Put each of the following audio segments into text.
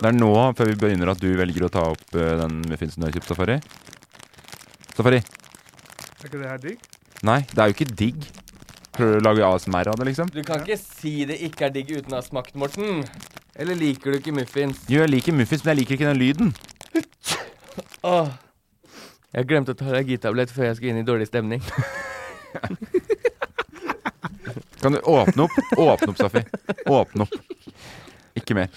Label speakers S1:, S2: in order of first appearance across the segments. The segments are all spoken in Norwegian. S1: Det er nå, før vi begynner, at du velger å ta opp eh, den muffinsen du har kjøpt, Safari. Safari?
S2: Er ikke det her digg?
S1: Nei, det er jo ikke digg. Prøver du å lage ASMR av det, liksom?
S3: Du kan ikke si det ikke er digg uten å ha smakt, Morten. Eller liker du ikke muffins?
S1: Jo, jeg liker muffins, men jeg liker ikke den lyden.
S3: Åh. Jeg glemte å ta allergitablett før jeg skulle inn i dårlig stemning.
S1: Kan du åpne opp? Åpne opp, Safi. Åpne opp. Ikke mer.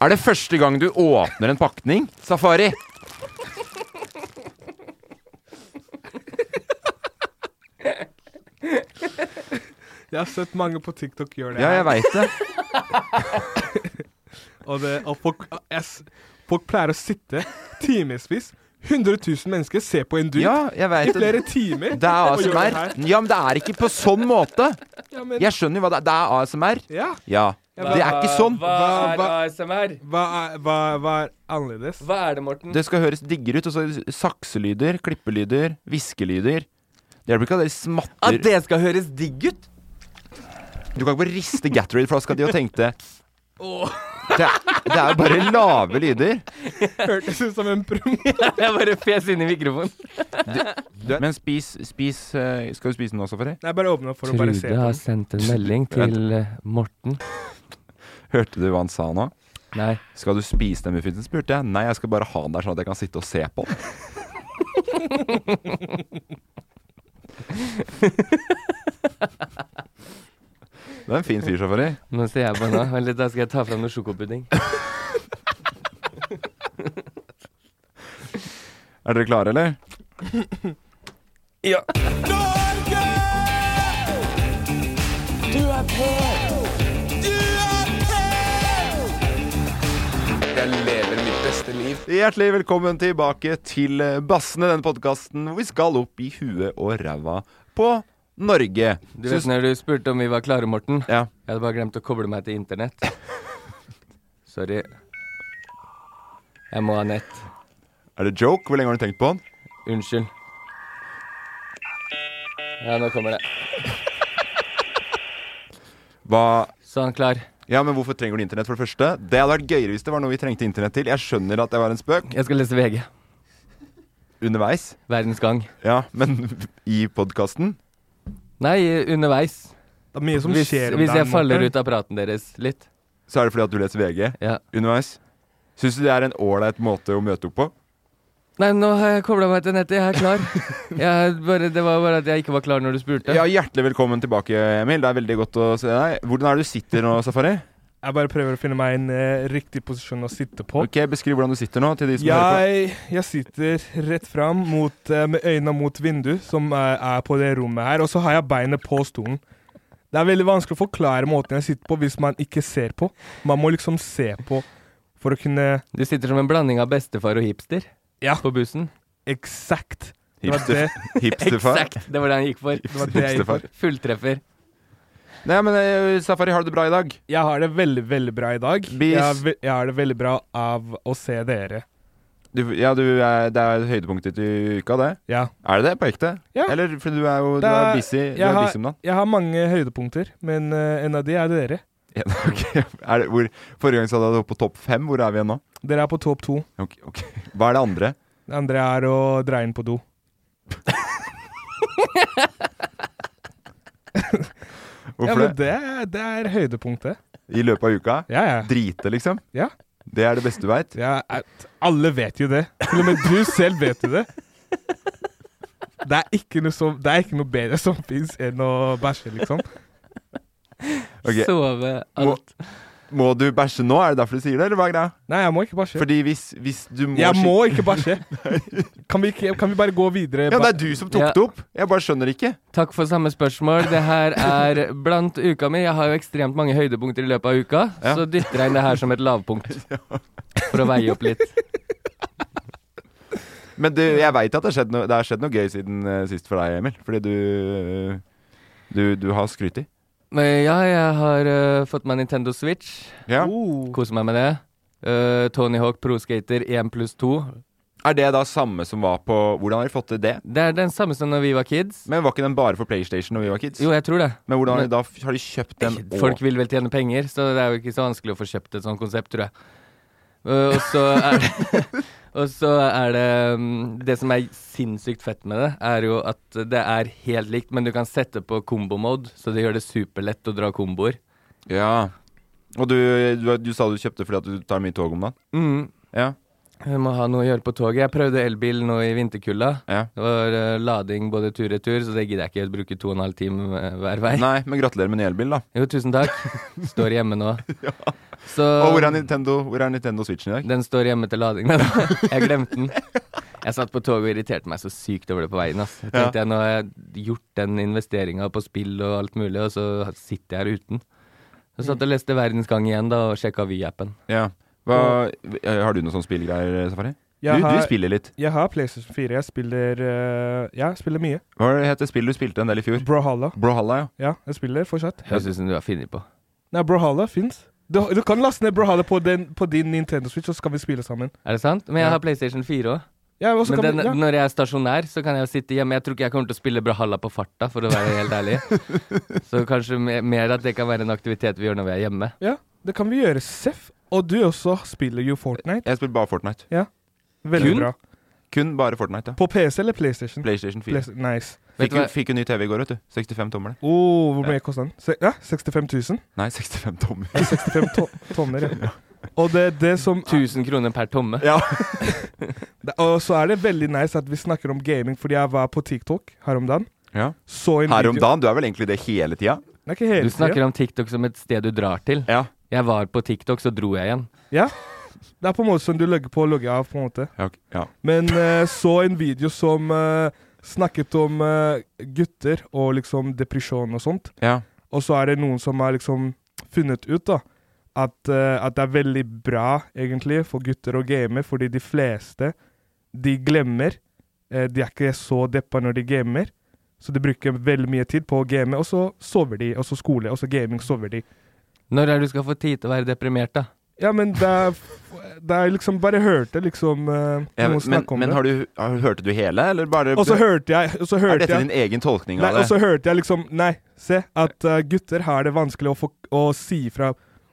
S1: Er det første gang du åpner en pakning? Safari!
S2: Jeg har sett mange på TikTok gjøre det.
S1: Ja, jeg
S2: her.
S1: veit det.
S2: Og, det, og folk, jeg, s- folk pleier å sitte timevis. 100 000 mennesker ser på en dude
S1: Ja,
S2: i
S1: jeg vet
S2: flere
S1: det.
S2: timer.
S1: Det er
S2: og gjør det
S1: ASMR.
S2: her.
S1: Ja, men det er ikke på sånn måte.
S2: Ja, men,
S1: Jeg skjønner jo hva det er. Det er ASMR.
S2: ja.
S1: Ja. Det er ikke sånn.
S3: Hva
S2: Hva-
S3: er
S2: hva-
S3: ASMR?
S2: Hva, er, hva, hva er annerledes?
S3: Hva er det, Morten?
S1: Det skal høres diggere ut. Og så sakselyder, klippelyder, hviskelyder. Det hjelper ikke at dere
S3: At
S1: smatter.
S3: det skal høres digg ut?
S1: Du kan ikke bare riste Gatorade-flaska di og tenke det. Det er, det er jo bare lave lyder.
S2: Hørtes ut som en prom.
S3: Jeg bare fes inn i mikrofonen.
S1: Du, men spis, spis eh, Skal du spise den også, Safari?
S2: Nei, bare åpne opp for å bare se på den.
S3: sendt en melding eh,
S1: til,
S3: Morten.
S1: Hørte du hva han sa nå?
S3: Nei.
S1: Skal du spise den muffinsen? spurte jeg. Nei, jeg skal bare ha den der sånn at jeg kan sitte og se på den. Det er en fin fyr, Safari.
S3: Nå ser jeg på nå. Vent litt, da skal jeg ta fram noe sjokopudding.
S1: Er dere klare, eller?
S3: Ja.
S1: Hjertelig velkommen tilbake til eh, Bassene, denne podkasten hvor vi skal opp i huet og ræva på Norge.
S3: Du vet når du spurte om vi var klare, Morten?
S1: Ja.
S3: Jeg hadde bare glemt å koble meg til internett. Sorry. Jeg må ha nett.
S1: Er det joke? Hvor lenge har du tenkt på den?
S3: Unnskyld. Ja, nå kommer det.
S1: Hva
S3: Sånn, klar.
S1: Ja, men hvorfor trenger du internett, for det første? Det hadde vært gøyere hvis det var noe vi trengte internett til. Jeg skjønner at det var en spøk
S3: Jeg skal lese VG.
S1: underveis.
S3: Verdens gang.
S1: Ja, men i podkasten
S3: Nei, underveis.
S2: Det er mye som
S3: Hvis,
S2: skjer om
S3: hvis
S2: dagen,
S3: jeg faller
S2: Morten.
S3: ut av praten deres litt.
S1: så er det fordi at du leser VG
S3: Ja.
S1: underveis. Syns du det er en ålreit måte å møte opp på?
S3: Nei, nå har jeg kobla meg til nettet. Jeg er klar. Jeg er bare, det var bare at jeg ikke var klar når du spurte.
S1: Ja, Hjertelig velkommen tilbake, Emil. Det er veldig godt å se deg. Hvordan er det du sitter nå, Safari?
S2: Jeg bare prøver å finne meg en eh, riktig posisjon å sitte på.
S1: Ok, Beskriv hvordan du sitter nå til de som hører på.
S2: Jeg, jeg sitter rett fram mot, eh, med øynene mot vinduet, som er, er på det rommet her, og så har jeg beinet på stolen. Det er veldig vanskelig å forklare måten jeg sitter på hvis man ikke ser på. Man må liksom se på for å kunne
S3: Du sitter som en blanding av bestefar og hipster
S2: Ja.
S3: på bussen.
S2: eksakt Det var
S1: Hipster, hipsterfar.
S3: Exakt! Det var det han gikk for.
S2: var det jeg gikk for.
S1: Hipsterfar.
S3: Fulltreffer.
S1: Nei, men eh, Safari, har du det bra i dag?
S2: Jeg har det veldig, veldig bra i dag.
S1: Bis.
S2: Jeg, har ve- jeg har det veldig bra av å se dere.
S1: Du, ja, du er, det er høydepunktet i uka, det.
S2: Ja.
S1: Er det det på ekte?
S2: Ja.
S1: Eller for du er jo du
S2: Det
S1: er
S2: er-
S1: busy, du
S2: jeg
S1: er
S2: har-
S1: busy om dagen.
S2: Jeg har mange høydepunkter, men eh, en av de er dere.
S1: Ja, ok. er det, hvor, forrige gang sa du at du var på topp fem. Hvor er vi igjen nå?
S2: Dere er på topp to.
S1: Ok, ok. Hva er det andre?
S2: Det andre er å dra inn på do. Ja,
S1: Hvorfor
S2: men det, er- det er høydepunktet.
S1: det? I løpet av uka?
S2: Ja, ja.
S1: Drite, liksom?
S2: ja.
S1: Det er det beste du veit?
S2: ja at alle vet jo det. Til og med du selv vet jo det. Det er ikke noe, som, det er ikke noe bedre som fins enn å bæsje, liksom.
S1: Ok.
S3: Sove,
S1: Må,
S3: alt.
S1: må du bæsje nå? Er det derfor du sier det, eller hva er greia?
S2: Nei, jeg må ikke bæsje.
S1: Fordi hvis, hvis du må
S2: Jeg
S1: skik-
S2: må ikke bæsje. Kan vi, ikke, kan vi bare gå videre?
S1: Ja, det er du som tok
S3: Ja.
S1: det opp! Jeg bare skjønner ikke.
S3: Takk for samme spørsmål. Det her er blant uka mi. Jeg har jo ekstremt mange høydepunkter i løpet av uka,
S1: Ja.
S3: så dytter jeg inn det her som et lavpunkt. For å veie opp litt.
S1: Men du, jeg veit at det har skjedd, noe- det har skjedd noe gøy siden eh, sist for deg, Emil. Fordi du eh, Du, du har skrytt i.
S3: Men ja, jeg har eh, fått meg Nintendo Switch.
S1: Ja.
S2: Oh.
S3: Koser meg med det. Eh, Tony Hawk Pro Skater 1 pluss 2.
S1: Er det da samme som var på Hvordan har de fått til det?
S3: Det er den samme som når vi var kids.
S1: Men var ikke den bare for PlayStation når vi var kids?
S3: Jo, jeg tror det.
S1: Men hvordan har de da har de kjøpt den og
S3: Folk vil vel tjene penger, så det er jo ikke så vanskelig å få kjøpt et sånt konsept, tror jeg. Eh, og så er Og så er det mm, Det som er sinnssykt fett med det, er jo at det er helt likt, men du kan sette på combo-mode, så det gjør det superlett å dra komboer.
S1: Ja. Og du, du, du sa du kjøpte fordi at du tar mye tog om dagen?
S3: Mm.
S1: Ja.
S3: Jeg må ha noe å gjøre på toget. Jeg prøvde elbil nå i vinterkulda.
S1: ja.
S3: Det var eh, lading både tur-retur, så det gidder jeg ikke å bruke to og en halv time eh, hver vei.
S1: Nei, men gratulerer med ny elbil, da.
S3: Jo, tusen takk. Står hjemme nå. Så
S1: Og hvor er Nintendo, hvor er Nintendo Switchen i dag?
S3: Den står hjemme til lading. Den. Jeg glemte den. Jeg satt på toget og irriterte meg så sykt over det på veien. Ass. Jeg tenkte jeg, Nå har jeg gjort den investeringa på spill og alt mulig, og så sitter jeg her uten. Så satt jeg og leste Verdens Gang igjen da, og sjekka Vy-appen.
S1: Ja. Hva, har du noen sånne spillgreier, Safari? Du,
S2: Jeg har-
S1: du spiller litt.
S2: Jeg har PlayStation 4. Jeg spiller, eh, ja, jeg spiller mye.
S1: Hva het det spill du spilte en del i fjor?
S2: Brohalla.
S1: Brawlhalla, ja.
S2: Ja, jeg spiller fortsatt.
S3: Høres ut som du har funnet på.
S2: Nei, Brohalla fins. Du, du kan laste ned Brohalla på, den- på din Nintendo Switch, så skal vi spille sammen.
S3: Er det sant? Men jeg har PlayStation 4 òg.
S2: Ja, og så
S3: Men
S2: kan
S3: den,
S2: vi- ja.
S3: når jeg er stasjonær, så kan jeg jo sitte hjemme. Jeg tror ikke jeg kommer til å spille Brahalla på farta, for å være helt ærlig. Så kanskje me- mer at det kan være en aktivitet vi gjør når vi er hjemme.
S2: ja, det kan vi gjøre. Seff. Og du også spiller jo Fortnite.
S1: Jeg spilte bare Fortnite.
S2: Veldig
S3: Kun?
S2: bra.
S1: Kun bare Fortnite, ja.
S2: På PC eller PlayStation?
S1: PlayStation 4.
S2: Playsta- nice.
S3: Vet
S1: Fikk,
S3: du hva-
S1: jo- fikk jo ny TV i går, vet du. 65 tommer, det.
S2: Oh, hvor mye kosta den? Se, ja, 65 000.
S1: Nei, 65 tommer.
S2: 65 to tonner, ja. Og det, det som
S3: 1000 kroner per tomme.
S1: Ja.
S2: Det- Og så er det veldig nice at vi snakker om gaming, fordi jeg var på TikTok her om dagen.
S1: ja.
S2: Så en
S1: Her om
S2: video
S1: dagen. Du er vel egentlig det hele tida?
S2: Det er ikke hele
S3: Du snakker
S2: tiden.
S3: om TikTok som et sted du drar til.
S1: Ja.
S3: Jeg var på TikTok, så dro jeg igjen.
S2: Ja. Det er på en måte som du legger på og logger av, på en måte.
S1: Ja, ok. ja.
S2: Men eh, så en video som eh, snakket om eh, gutter og liksom depresjon og sånt.
S1: ja.
S2: Og så er det noen som har liksom funnet ut da, at, eh, at det er veldig bra egentlig for gutter å game, fordi de fleste, de glemmer. Eh, de er ikke så deppa når de gamer, så de bruker veldig mye tid på å game, og så sover de, og så skole, og så gaming, sover de.
S3: Når er det du skal få tid til å være deprimert, da?
S2: Ja, men det er, det er liksom bare hørte liksom eh,
S1: Ja,
S2: noen
S1: men
S2: snakke om
S1: men
S2: det.
S1: har du, har, hørte du hele, eller bare
S2: Og så hørte jeg, og så
S1: Er
S2: hørte
S1: dette
S2: jeg
S1: din egen tolkning
S2: Nei,
S1: av
S2: og så
S1: det?
S2: hørte jeg liksom Nei, se at eh, gutter har det vanskelig å, få, å si fra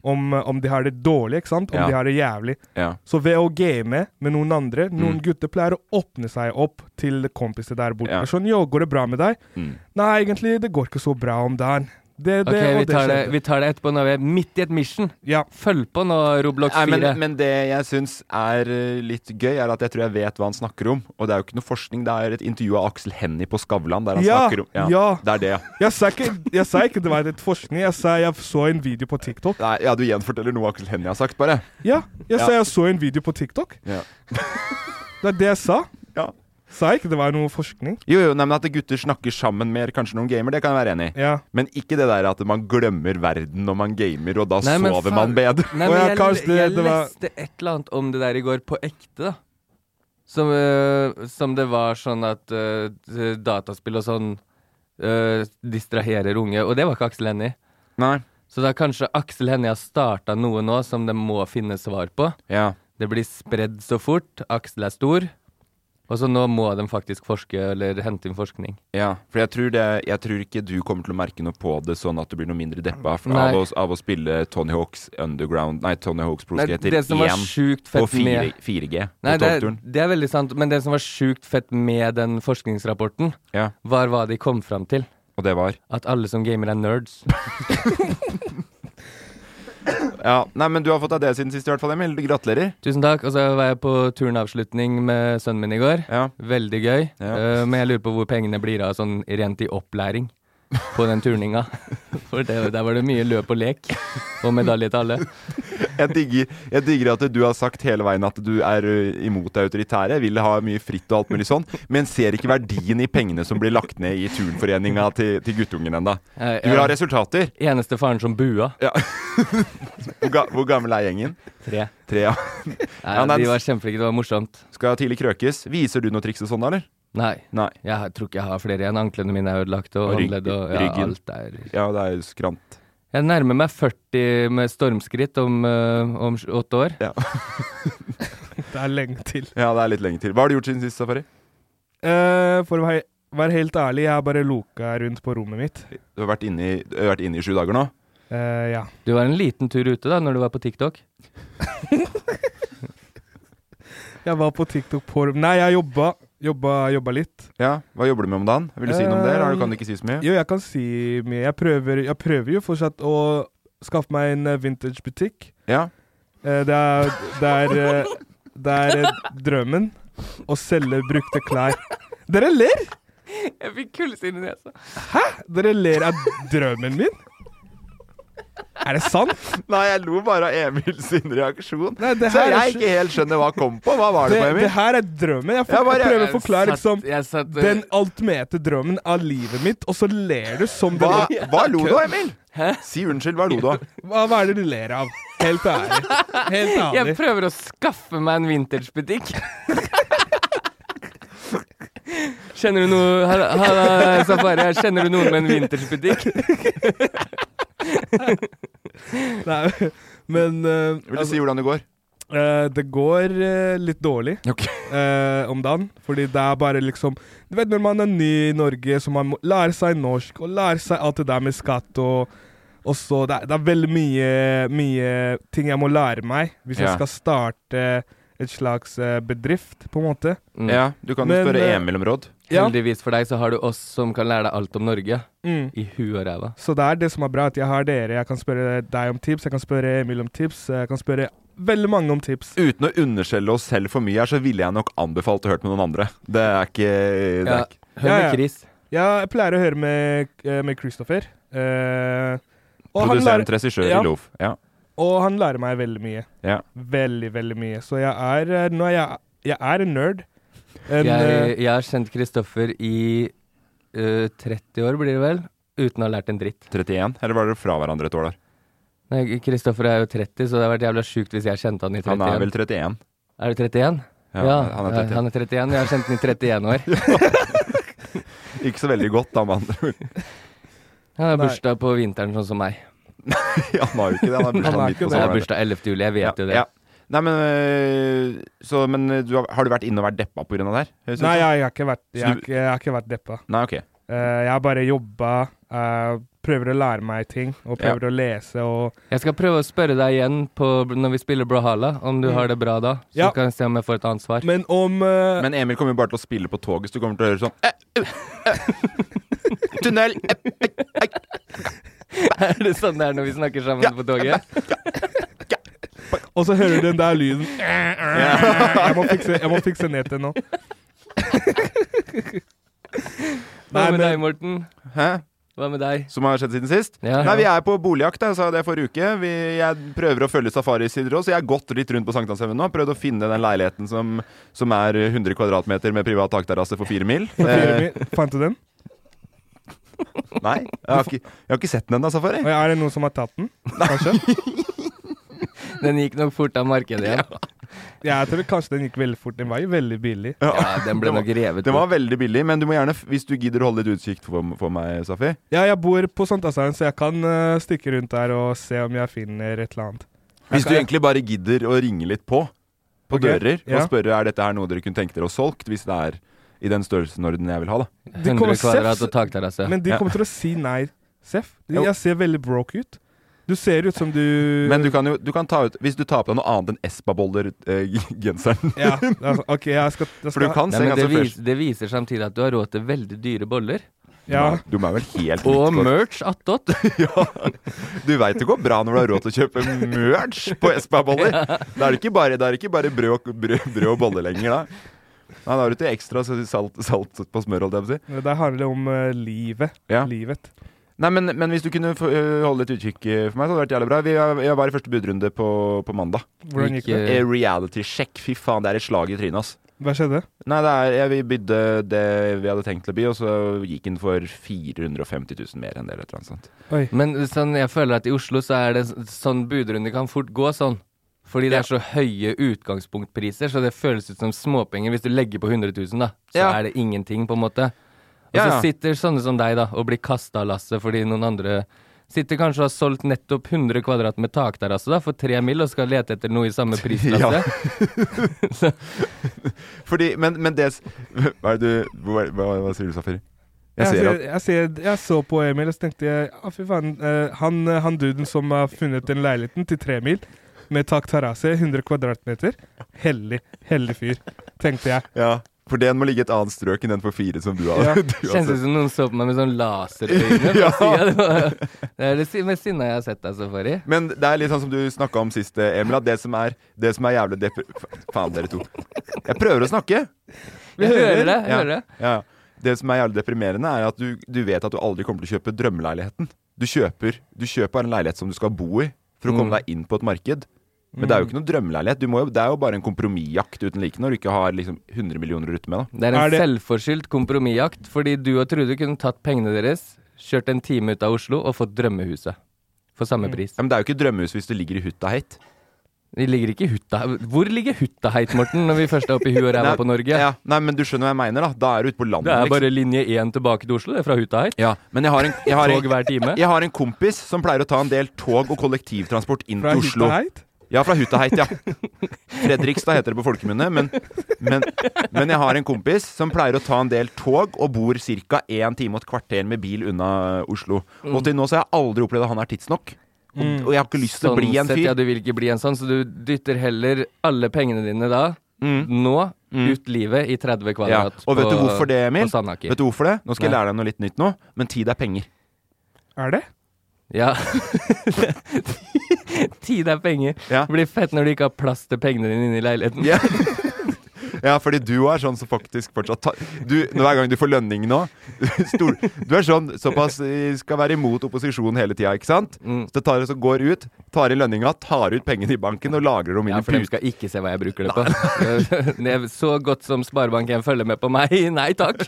S2: om, eh, om de har det dårlig, ikke sant? Om
S1: Ja.
S2: de har det jævlig.
S1: Ja.
S2: Så ved å game med noen andre Noen
S1: Mm.
S2: gutter pleier å åpne seg opp til kompiser der borte.
S1: Ja.
S2: Sånn, jo, går det bra med deg?
S1: Mm.
S2: Nei, egentlig, det går ikke så bra om dagen. Det, det,
S3: Ok,
S2: og
S3: vi
S2: det
S3: tar det,
S2: skjedde.
S3: vi tar det etterpå når vi er midt i et mission.
S2: Ja.
S3: Følg på nå, Roblox 4.
S1: Nei, men, men det jeg syns er eh, litt gøy, er at jeg tror jeg vet hva han snakker om. Og det er jo ikke noe forskning, det er et intervju av Aksel Hennie på Skavlan der han
S2: Ja,
S1: snakker om
S2: ja.
S1: Det er det, ja.
S2: Jeg sa ikke, jeg sa ikke det var et forskning, jeg sa jeg så en video på TikTok.
S1: Nei, ja, du gjenforteller noe Aksel Hennie har sagt, bare.
S2: Ja, jeg
S1: Ja.
S2: sa jeg så en video på TikTok.
S1: Ja.
S2: Det er det jeg sa.
S1: Ja.
S2: Sa jeg ikke det var noe forskning.
S1: Jo, jo, nei, men at gutter snakker sammen mer, kanskje noen gamer, det kan jeg være enig i.
S2: Ja.
S1: Men ikke det der at man glemmer verden når man gamer, og da
S3: Nei, men
S1: sover
S3: faen.
S1: man bedre.
S3: Nei,
S2: Å
S3: men
S2: ja,
S3: jeg,
S2: kanskje det-
S3: jeg
S2: det var-
S3: leste et eller annet om det der i går, på ekte, da. Som, eh, som det var sånn at eh, dataspill og sånn eh, distraherer unge, og det var ikke Aksel Hennie.
S1: Nei.
S3: Så da kanskje Aksel Hennie har starta noe nå som de må finne svar på.
S1: Ja.
S3: Det blir spredd så fort, Aksel er stor, og så nå må de faktisk forske eller hente inn forskning.
S1: Ja, for jeg tror, det, jeg tror ikke du kommer til å merke noe på det sånn at du blir noe mindre deppa for
S3: Nei.
S1: av, å, av å spille Tony Hawks Underground Nei, Tony Hawks Pro
S3: Nei,
S1: Skater
S3: det som var
S1: 1
S3: sjukt
S1: på
S3: fett
S1: 4,
S3: med
S1: 4G
S3: Nei,
S1: på
S3: det, er-
S1: toppturen.
S3: det er veldig sant, men det som var sjukt fett med den forskningsrapporten,
S1: Ja,
S3: var hva de kom fram til.
S1: og det var
S3: At alle som gamer er nerds.
S1: Ja, Nei, men du har fått deg det siden sist i hvert fall, Emil. Gratulerer.
S3: Tusen takk. Og så var jeg på turnavslutning med sønnen min i går.
S1: Ja.
S3: Veldig gøy.
S1: Ja.
S3: Eh, men jeg lurer på hvor pengene blir av sånn rent i opplæring på den turninga. For det, der var det mye løp og lek, og medalje til alle.
S1: Jeg digger, jeg digger at du har sagt hele veien at du er ø, imot det autoritære, vil ha mye fritt og alt mulig sånn, men ser ikke verdien i pengene som blir lagt ned i turnforeninga til, til guttungen ennå.
S3: Jeg,
S1: Du vil ha resultater.
S3: eneste faren som bua.
S1: Hvor, ga, hvor gammel er gjengen?
S3: Tre.
S1: Tre, ja.
S3: Nei,
S1: Ja, nei,
S3: de var kjempeflinke. Det var morsomt.
S1: Skal tidlig krøkes. Viser du noe triks og sånn, da, eller?
S3: Nei.
S1: Nei.
S3: Jeg har- tror ikke jeg har flere igjen. Anklene mine er ødelagt, og,
S1: Og rygg-
S3: håndledd og ja,
S1: ryggen.
S3: alt er
S1: Ja, det er jo skrant.
S3: Jeg nærmer meg 40 med stormskritt om, eh, om sj- åtte år.
S1: Ja.
S2: Det er lenge til.
S1: ja, det er litt lenge til. Hva har du gjort siden sist, Safari?
S2: Eh, for å være, være helt ærlig, jeg har bare loka rundt på rommet mitt.
S1: Du har vært inne i, du har vært inne i sju dager nå.
S2: Eh, ja.
S3: Du var en liten tur ute da, når du var på TikTok.
S2: Jeg var på TikTok på rom... Nei, jeg jobba. Jobba, jobba litt.
S1: Ja, Hva jobber du med om dagen? Vil du si noe om det? eller har du- Kan du ikke si så mye?
S2: Jo, jeg kan si mye. Jeg prøver, jeg prøver jo fortsatt å skaffe meg en eh, vintagebutikk.
S1: Ja.
S2: Eh, det er Det er, eh, det er eh, drømmen å selge brukte klær. Dere ler!
S3: Jeg fikk kullsyre i nesa.
S2: Dere ler av drømmen min. Er det sant?
S1: Nei, jeg lo bare av Emil sin reaksjon.
S2: Nei, det
S1: Så
S2: her er
S1: jeg
S2: ikke-
S1: ikke helt skjønner hva kom på. Hva var
S2: Det,
S1: det på,
S2: det
S1: Emil?
S2: her er drømmen. Jeg, får,
S1: Jeg bare-
S2: jeg prøver å forklare liksom
S3: Jeg satt, eh,
S2: den altmete drømmen av livet mitt, og så ler du som
S1: Hva,
S2: det
S1: hva lo du av, Emil? Si unnskyld, hva lo du av?
S2: Hva, hva er det du ler av? Helt ærlig. Helt
S3: Jeg
S2: ærlig.
S3: prøver å skaffe meg en vintagebutikk. Kjenner du noe ha- ha- Safari, her. kjenner du noen med en vintagebutikk?
S2: Nei, men eh,
S1: Vil du
S2: altså,
S1: si hvordan det går?
S2: eh, det går eh, litt dårlig
S1: Ok.
S2: eh, om dagen. Fordi det er bare liksom Du vet når man er ny i Norge, så man må lære seg norsk og lære seg alt det der med skatt og og så det, er, det er veldig mye, mye ting jeg må lære meg hvis
S1: Ja.
S2: jeg skal starte et slags eh, bedrift, på en måte.
S3: Mm.
S1: Ja, du kan jo
S2: Men,
S1: spørre
S2: eh,
S1: Emil om råd.
S2: Ja.
S3: Heldigvis for deg så har du oss som kan lære deg alt om Norge.
S2: Mm.
S3: I huet og ræva.
S2: Så det er det som er bra, at jeg har dere. Jeg kan spørre deg om tips, jeg kan spørre Emil om tips, jeg kan spørre veldig mange om tips.
S1: Uten å underskjelle oss selv for mye her, så ville jeg nok anbefalt å høre med noen andre. Det er ikke, det er
S3: Ja,
S1: ikke
S3: hør
S2: Ja,
S3: med
S2: ja.
S3: Chris.
S2: Jeg pleier å høre med, eh, med Christopher. eh, og, han
S1: Produsent,
S2: lærer,
S1: regissør
S2: Ja.
S1: i LOF. Ja.
S2: og han lærer meg veldig mye.
S1: Ja.
S2: Veldig, veldig mye. Så jeg er, eh, nå er jeg, jeg er en nerd. En, eh,
S3: Jeg, jeg har kjent Kristoffer i eh, 30 år, blir det vel, uten å ha lært en dritt.
S1: 31? Eller var dere fra hverandre et år der?
S3: Nei, Kristoffer er jo 30, så det hadde vært jævla sjukt hvis jeg kjente han i 31.
S1: Han er vel 31?
S3: Er du 31?
S1: Ja, han er 31.
S3: han er 31. Jeg har kjent den i 31 år.
S1: Ikke så veldig godt, da, med andre ord.
S3: Han har
S2: Nei.
S3: bursdag på vinteren, sånn som meg.
S1: Han har jo ikke det. Han har
S2: Han er ikke det.
S1: bursdag midt på
S3: Jeg har
S1: sommeren.
S3: bursdag 11. juli, jeg vet jo det.
S1: Ja. Nei, men, øh, så, men øh, du har, har du vært inne og vært deppa pga. det her? Høres ut
S2: nei,
S1: som.
S2: jeg, jeg, har ikke vært, jeg,
S1: Så
S2: har
S1: sånn? du-
S2: ikke- jeg har ikke vært deppa.
S1: Nei, ok.
S2: Eh, jeg har bare jobba, eh, prøver å lære meg ting, og
S1: Ja.
S2: prøver å lese og
S3: Jeg skal prøve å spørre deg igjen på, når vi spiller Brawlhalla, om du har det bra da. Så
S2: Mm. Ja.
S3: kan jeg se om jeg får et annet svar.
S2: Men om eh,
S1: Men Emil kommer jo bare til å spille på toget, så du kommer til å høre sånn eh, eh, eh, Tunnel! eh,
S3: er det sånn det er når vi snakker sammen på toget?
S2: Og så hører du den der lyden. Jeg må fikse, jeg må fikse nettet nå.
S3: Hva
S2: Nei,
S3: med
S2: men-
S3: deg, Morten?
S1: Hæ?
S3: Hva med deg?
S1: Som har skjedd siden sist?
S3: Ja.
S1: Nei, vi er på boligjakt, jeg sa det forrige uke. Vi, jeg prøver å følge safarisider òg, så jeg har gått litt rundt på Sankthanshaugen nå. Prøvd å finne den leiligheten som, som er 100 kvadratmeter med privat takterrasse for fire mil. Eh,
S2: Jeremy, Fant du den?
S1: nei, jeg har, ikke, jeg har ikke sett den ennå, Safari.
S2: Og Er det noen som har tatt den? Kanskje?
S3: Den gikk nok fort av markedet igjen.
S2: Jeg tror kanskje den gikk veldig fort. Den var jo veldig billig.
S3: Ja, den ble nok revet
S1: Den
S3: bort.
S1: var veldig billig, men du må gjerne, f- hvis du gidder å holde litt utsikt for, for meg, Safi
S2: Ja, jeg bor på Sankthanshaugen, så jeg kan eh, stikke rundt der og se om jeg finner et eller annet.
S1: Hvis du
S2: kan-
S1: egentlig bare gidder å ringe litt på, på
S2: Ok,
S1: dører,
S2: ja.
S1: og spørre er dette her noe dere kunne tenke dere å solgt, hvis det er i den størrelsenorden jeg vil ha, da.
S2: De kommer
S3: 100 kvadrat
S2: selv-
S3: og takterrasse.
S2: Men de
S1: Ja.
S2: kommer til å si nei, Seff.
S1: Jo.
S2: Jeg ser veldig broke ut. Du ser ut som du
S1: Men du kan jo du kan ta ut Hvis du tar på deg noe annet enn Espa-boller-genseren
S2: Ja, altså, OK, jeg skal, jeg skal
S1: For du kan
S3: Nei,
S1: se
S3: men det,
S1: ganske
S3: vis,
S1: fresh
S3: det viser samtidig at du har råd til veldig dyre boller.
S2: ja.
S1: Du må vel helt
S3: Og
S1: litt-
S3: merch attåt.
S1: Du veit det går bra når du har råd til å kjøpe merch på Espa-boller. Da er det ikke bare, da er det ikke bare brød, og, brød, brød og boller lenger, da. Nei, da har du til ekstra salt, salt på smør, holdt jeg på å si.
S2: Det handler om eh, livet.
S1: Ja.
S2: Livet.
S1: Nei, men, men hvis du kunne få, øh, holde litt utkikk øh, for meg, så hadde det vært jævlig bra. Vi er, jeg var i første budrunde på, på mandag.
S2: Hvordan gikk det?
S3: Eh,
S1: Eh, Reality check. Fy faen, det er et slag i trynet, ass.
S2: Hva skjedde?
S1: Nei, det er, jeg, vi bydde det vi hadde tenkt til å by, og så gikk den for 450 000 mer enn det. Eller et eller annet sånt.
S2: Oi.
S3: Men sånn, jeg føler at i Oslo så er det s- sånn budrunde kan fort gå sånn. Fordi det er så høye utgangspunktpriser, så det føles ut som småpenger. Hvis du legger på 100 000, da, så
S1: Ja.
S3: er det ingenting, på en måte. Og
S1: Ja, ja.
S3: så sitter sånne som deg, da, og blir kasta av lasset fordi noen andre sitter kanskje og har solgt nettopp 100 kvadrat med takterrasse da, for tre mil, og skal lete etter noe i samme
S1: Ja.
S3: prislasse.
S1: Fordi, men, men det s- Hva er det du Hva, hva, hva sier du, Safir? Jeg
S2: Jeg,
S1: ser
S2: ser,
S1: at
S2: jeg, ser, jeg så på Emil og så tenkte jeg, ah, fy faen, eh, han, eh, han duden som har funnet den leiligheten til tre mil, med tak terrasse, 100 kvadratmeter, hellig, hellig fyr, tenkte jeg.
S1: Ja. For den må ligge et annet strøk enn den for fire som du har.
S2: Ja.
S1: Du har
S3: Kjennes ut
S1: sett.
S3: som noen så på meg med sånn laserøyne.
S1: Ja.
S3: fra siden. Det var- det er det si- mest sinna jeg har sett altså, deg så far i.
S1: Men det er litt sånn som du snakka om sist, eh, Emil, at det som er, det som er jævlig depre... Fa- Faen, dere to. Jeg prøver å snakke.
S3: Vi hører det.
S1: Ja.
S3: hører det.
S1: Ja. Det som er jævlig deprimerende, er at du, du vet at du aldri kommer til å kjøpe drømmeleiligheten. Du kjøper, du kjøper en leilighet som du skal bo i, for å
S3: Mm.
S1: komme deg inn på et marked. Men det er jo ikke noen drømmeleilighet. Du må jo, det er jo bare en kompromissjakt uten like når du ikke har liksom 100 millioner å rutte med. Da.
S3: Det er en
S2: Er det-
S3: selvforskyldt kompromissjakt, fordi du og Trude kunne tatt pengene deres, kjørt en time ut av Oslo og fått drømmehuset. For samme pris.
S1: Ja, men det er jo ikke drømmehus hvis du ligger i hutta heit.
S3: De ligger ikke i hutta Hvor ligger hutta heit, Morten, når vi først er oppe i huet og ræva på Norge?
S1: Ja, nei, men du skjønner hva jeg mener, da. Da er du ute på landet.
S3: Det er
S1: liksom.
S3: bare linje én tilbake til Oslo, det, er fra hutta heit.
S1: ja, men jeg har, en, jeg, har
S3: Tog
S1: en,
S3: hver time.
S1: jeg har en kompis som pleier å ta en del tog og kollektivtransport inn
S2: Fra
S1: til Oslo.
S2: Hytteheit?
S1: Ja, fra Hutaheit, ja. Fredrikstad heter det på folkemunne. Men, men, men jeg har en kompis som pleier å ta en del tog og bor ca. én time og et kvarter med bil unna Oslo. Og til nå så har jeg aldri opplevd at han er tidsnok. Og, og jeg har ikke lyst til å bli
S3: Mm. Sånn
S1: en
S3: sett, ja,
S1: fyr.
S3: du vil ikke bli en sånn, så du dytter heller alle pengene dine da, nå, ut livet i 30
S1: Mm. Ja.
S3: kvadrat
S1: Og vet du hvorfor det, Emil?
S3: på Sandaker.
S1: Vet du hvorfor det? Nå skal jeg
S3: Nei.
S1: lære deg noe litt nytt nå, men tid er penger.
S2: Er det?
S3: Ja. Tid er penger.
S1: Ja.
S3: Det blir fett når du ikke har plass til pengene dine inne i leiligheten.
S1: Ja. Ja, fordi du er sånn som faktisk fortsatt ta, du, Hver gang du får lønning nå stor, Du er sånn såpass eh, Skal være imot opposisjon hele tida, ikke sant?
S3: Mm.
S1: Så det tar, så går ut, tar i lønninga, tar ut pengene i banken og lagrer dem inn
S3: Ja,
S1: i
S3: for de
S1: flut.
S3: skal ikke se hva jeg bruker det på. Det er så godt som Sparebank1 følger med på meg, nei takk.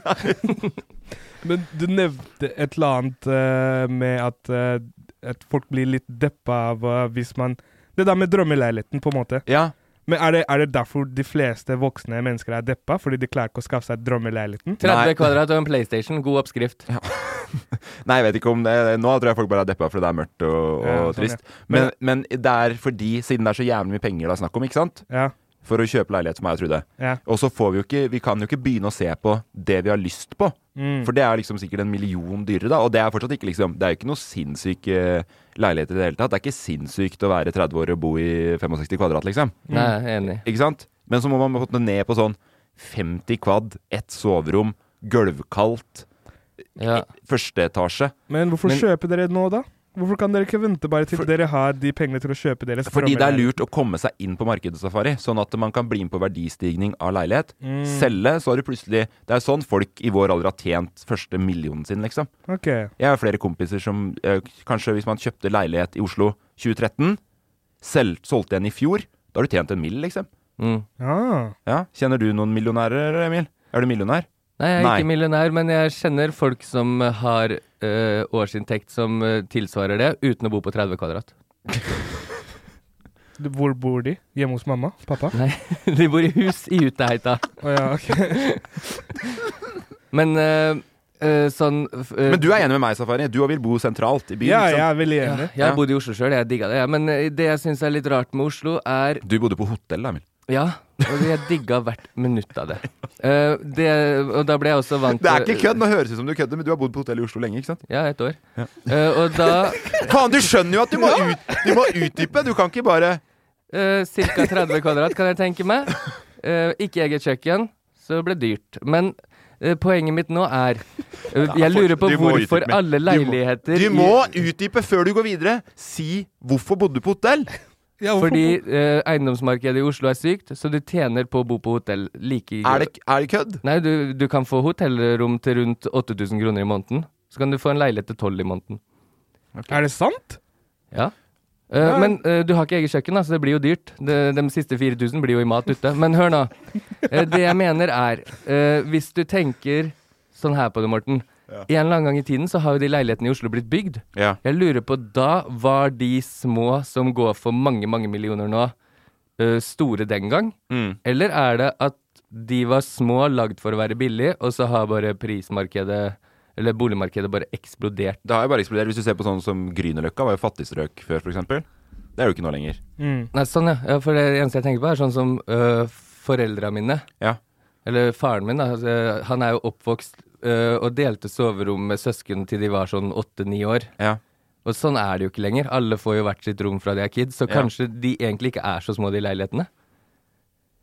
S2: Men du nevnte et eller annet eh, med at, eh, at folk blir litt deppa av eh, hvis man Det der med drømmeleiligheten, på en måte.
S1: Ja,
S2: Men er det, er det derfor de fleste voksne mennesker er deppa? Fordi de klarer ikke å skaffe seg drømmeleiligheten?
S3: 30
S1: Nei.
S3: kvadrat og en PlayStation, god oppskrift.
S1: Nei, jeg vet ikke om det Nå tror jeg folk bare er deppa fordi det er mørkt og, og
S2: Ja, sånn,
S1: trist.
S2: ja.
S1: Men, men det er fordi, siden det er så jævlig mye penger det er snakk om, ikke sant?
S2: Ja.
S1: For å kjøpe leilighet som jeg og Trude.
S2: ja.
S1: Og så får vi jo ikke Vi kan jo ikke begynne å se på det vi har lyst på. For det er liksom sikkert en million dyrere, da. Og det er fortsatt ikke liksom Det er jo ikke noe sinnssyk eh, leilighet i det hele tatt. Det er ikke sinnssykt å være 30 år og bo i 65 kvadrat, liksom.
S3: Nei, jeg er enig.
S1: Ikke sant? Men så må man fått det ned på sånn 50 kvad, ett soverom, gulvkaldt, e,
S3: Ja.
S1: første etasje.
S2: Men hvorfor
S3: Men-
S2: kjøper dere nå, da? Hvorfor kan dere ikke vente bare til dere har de pengene til å kjøpe deres
S1: Fordi det er
S2: drømmeleilighet?
S1: lurt å komme seg inn på markedssafari, sånn at man kan bli med på verdistigning av leilighet. Selge, så har du plutselig Det er sånn folk i vår alder har tjent første millionen sin, liksom.
S2: Ok.
S1: Jeg har flere kompiser som eh, Kanskje hvis man kjøpte leilighet i Oslo 2013, selv solgte en i fjor, da har du tjent en mill, liksom.
S3: Mm.
S2: Ah.
S1: Ja, Kjenner du noen millionærer, Emil? Er du millionær?
S3: Nei, jeg er
S1: Nei.
S3: ikke millionær, men jeg kjenner folk som har øh, eh, årsinntekt som øh, tilsvarer det, uten å bo på 30 kvadrat.
S2: Du- Hvor bor de? Hjemme hos mamma? Pappa?
S3: Nei, de bor i hus i Uteheita.
S2: Å ja, ok.
S3: Men eh, eh, sånn eh,
S1: Men du er enig med meg, Safari. Du vil bo sentralt i byen.
S2: Ja,
S1: ikke
S2: jeg
S1: sant?
S2: er veldig
S3: ja,
S2: enig.
S3: Jeg har bodd i Oslo sjøl, jeg digga det. Ja. Men eh, det jeg syns er litt rart med Oslo, er
S1: Du bodde på hotell, da, Emil.
S3: Ja, og jeg digga hvert minutt av det. Eh, det og da ble jeg også vant
S1: Det er ikke kødd! Nå høres det ut som du kødder, men du har bodd på hotell i Oslo lenge, ikke sant?
S3: Ja, et år. Eh, og da
S1: Faen, du skjønner jo at du må, ut, du må utdype! Du kan ikke bare
S3: Uh, Ca. 30 kvadrat, kan jeg tenke meg. Eh, ikke eget kjøkken, så det ble dyrt. Men eh, poenget mitt nå er eh, Jeg lurer på
S1: Du må utdype
S3: hvorfor
S1: mer.
S3: alle leiligheter
S1: Du
S3: i-
S1: må utdype før du går videre! Si hvorfor bodde du på hotell?
S2: Ja, hvorfor-
S3: Fordi eh, eiendomsmarkedet i Oslo er sykt, så du tjener på å bo på hotell like
S1: Er det, er det kødd?
S3: Nei, du, du kan få hotellrom til rundt 8000 kroner i måneden. Så kan du få en leilighet til 12 i måneden.
S2: Er det sant?
S3: Ja. Eh, men eh, du har ikke eget kjøkken, da, så det blir jo dyrt. De, de siste 4000 blir jo i mat ute. Men hør nå. Eh, det jeg mener er, eh, hvis du tenker sånn her på det, Morten. En eller annen gang i tiden så har jo de leilighetene i Oslo blitt bygd.
S1: Ja.
S3: Jeg lurer på, da var de små som går for mange, mange millioner nå, eh, store den gang?
S1: Mm.
S3: Eller er det at de var små, lagd for å være billig, og så har bare prismarkedet, eller boligmarkedet, bare eksplodert?
S1: Det har jo bare eksplodert. Hvis du ser på sånn som Grünerløkka, var jo fattigstrøk før, for eksempel. Det er jo ikke nå lenger.
S3: Nei, sånn ja. ja. For det eneste jeg tenker på, er sånn som øh, foreldra mine,
S1: Ja.
S3: eller faren min, da, altså, han er jo oppvokst øh, og delte soverom med søsken til de var sånn åtte-ni år.
S1: ja.
S3: Og sånn er det jo ikke lenger. Alle får jo hvert sitt rom fra de er kids, så
S1: Ja.
S3: kanskje de egentlig ikke er så små, de leilighetene.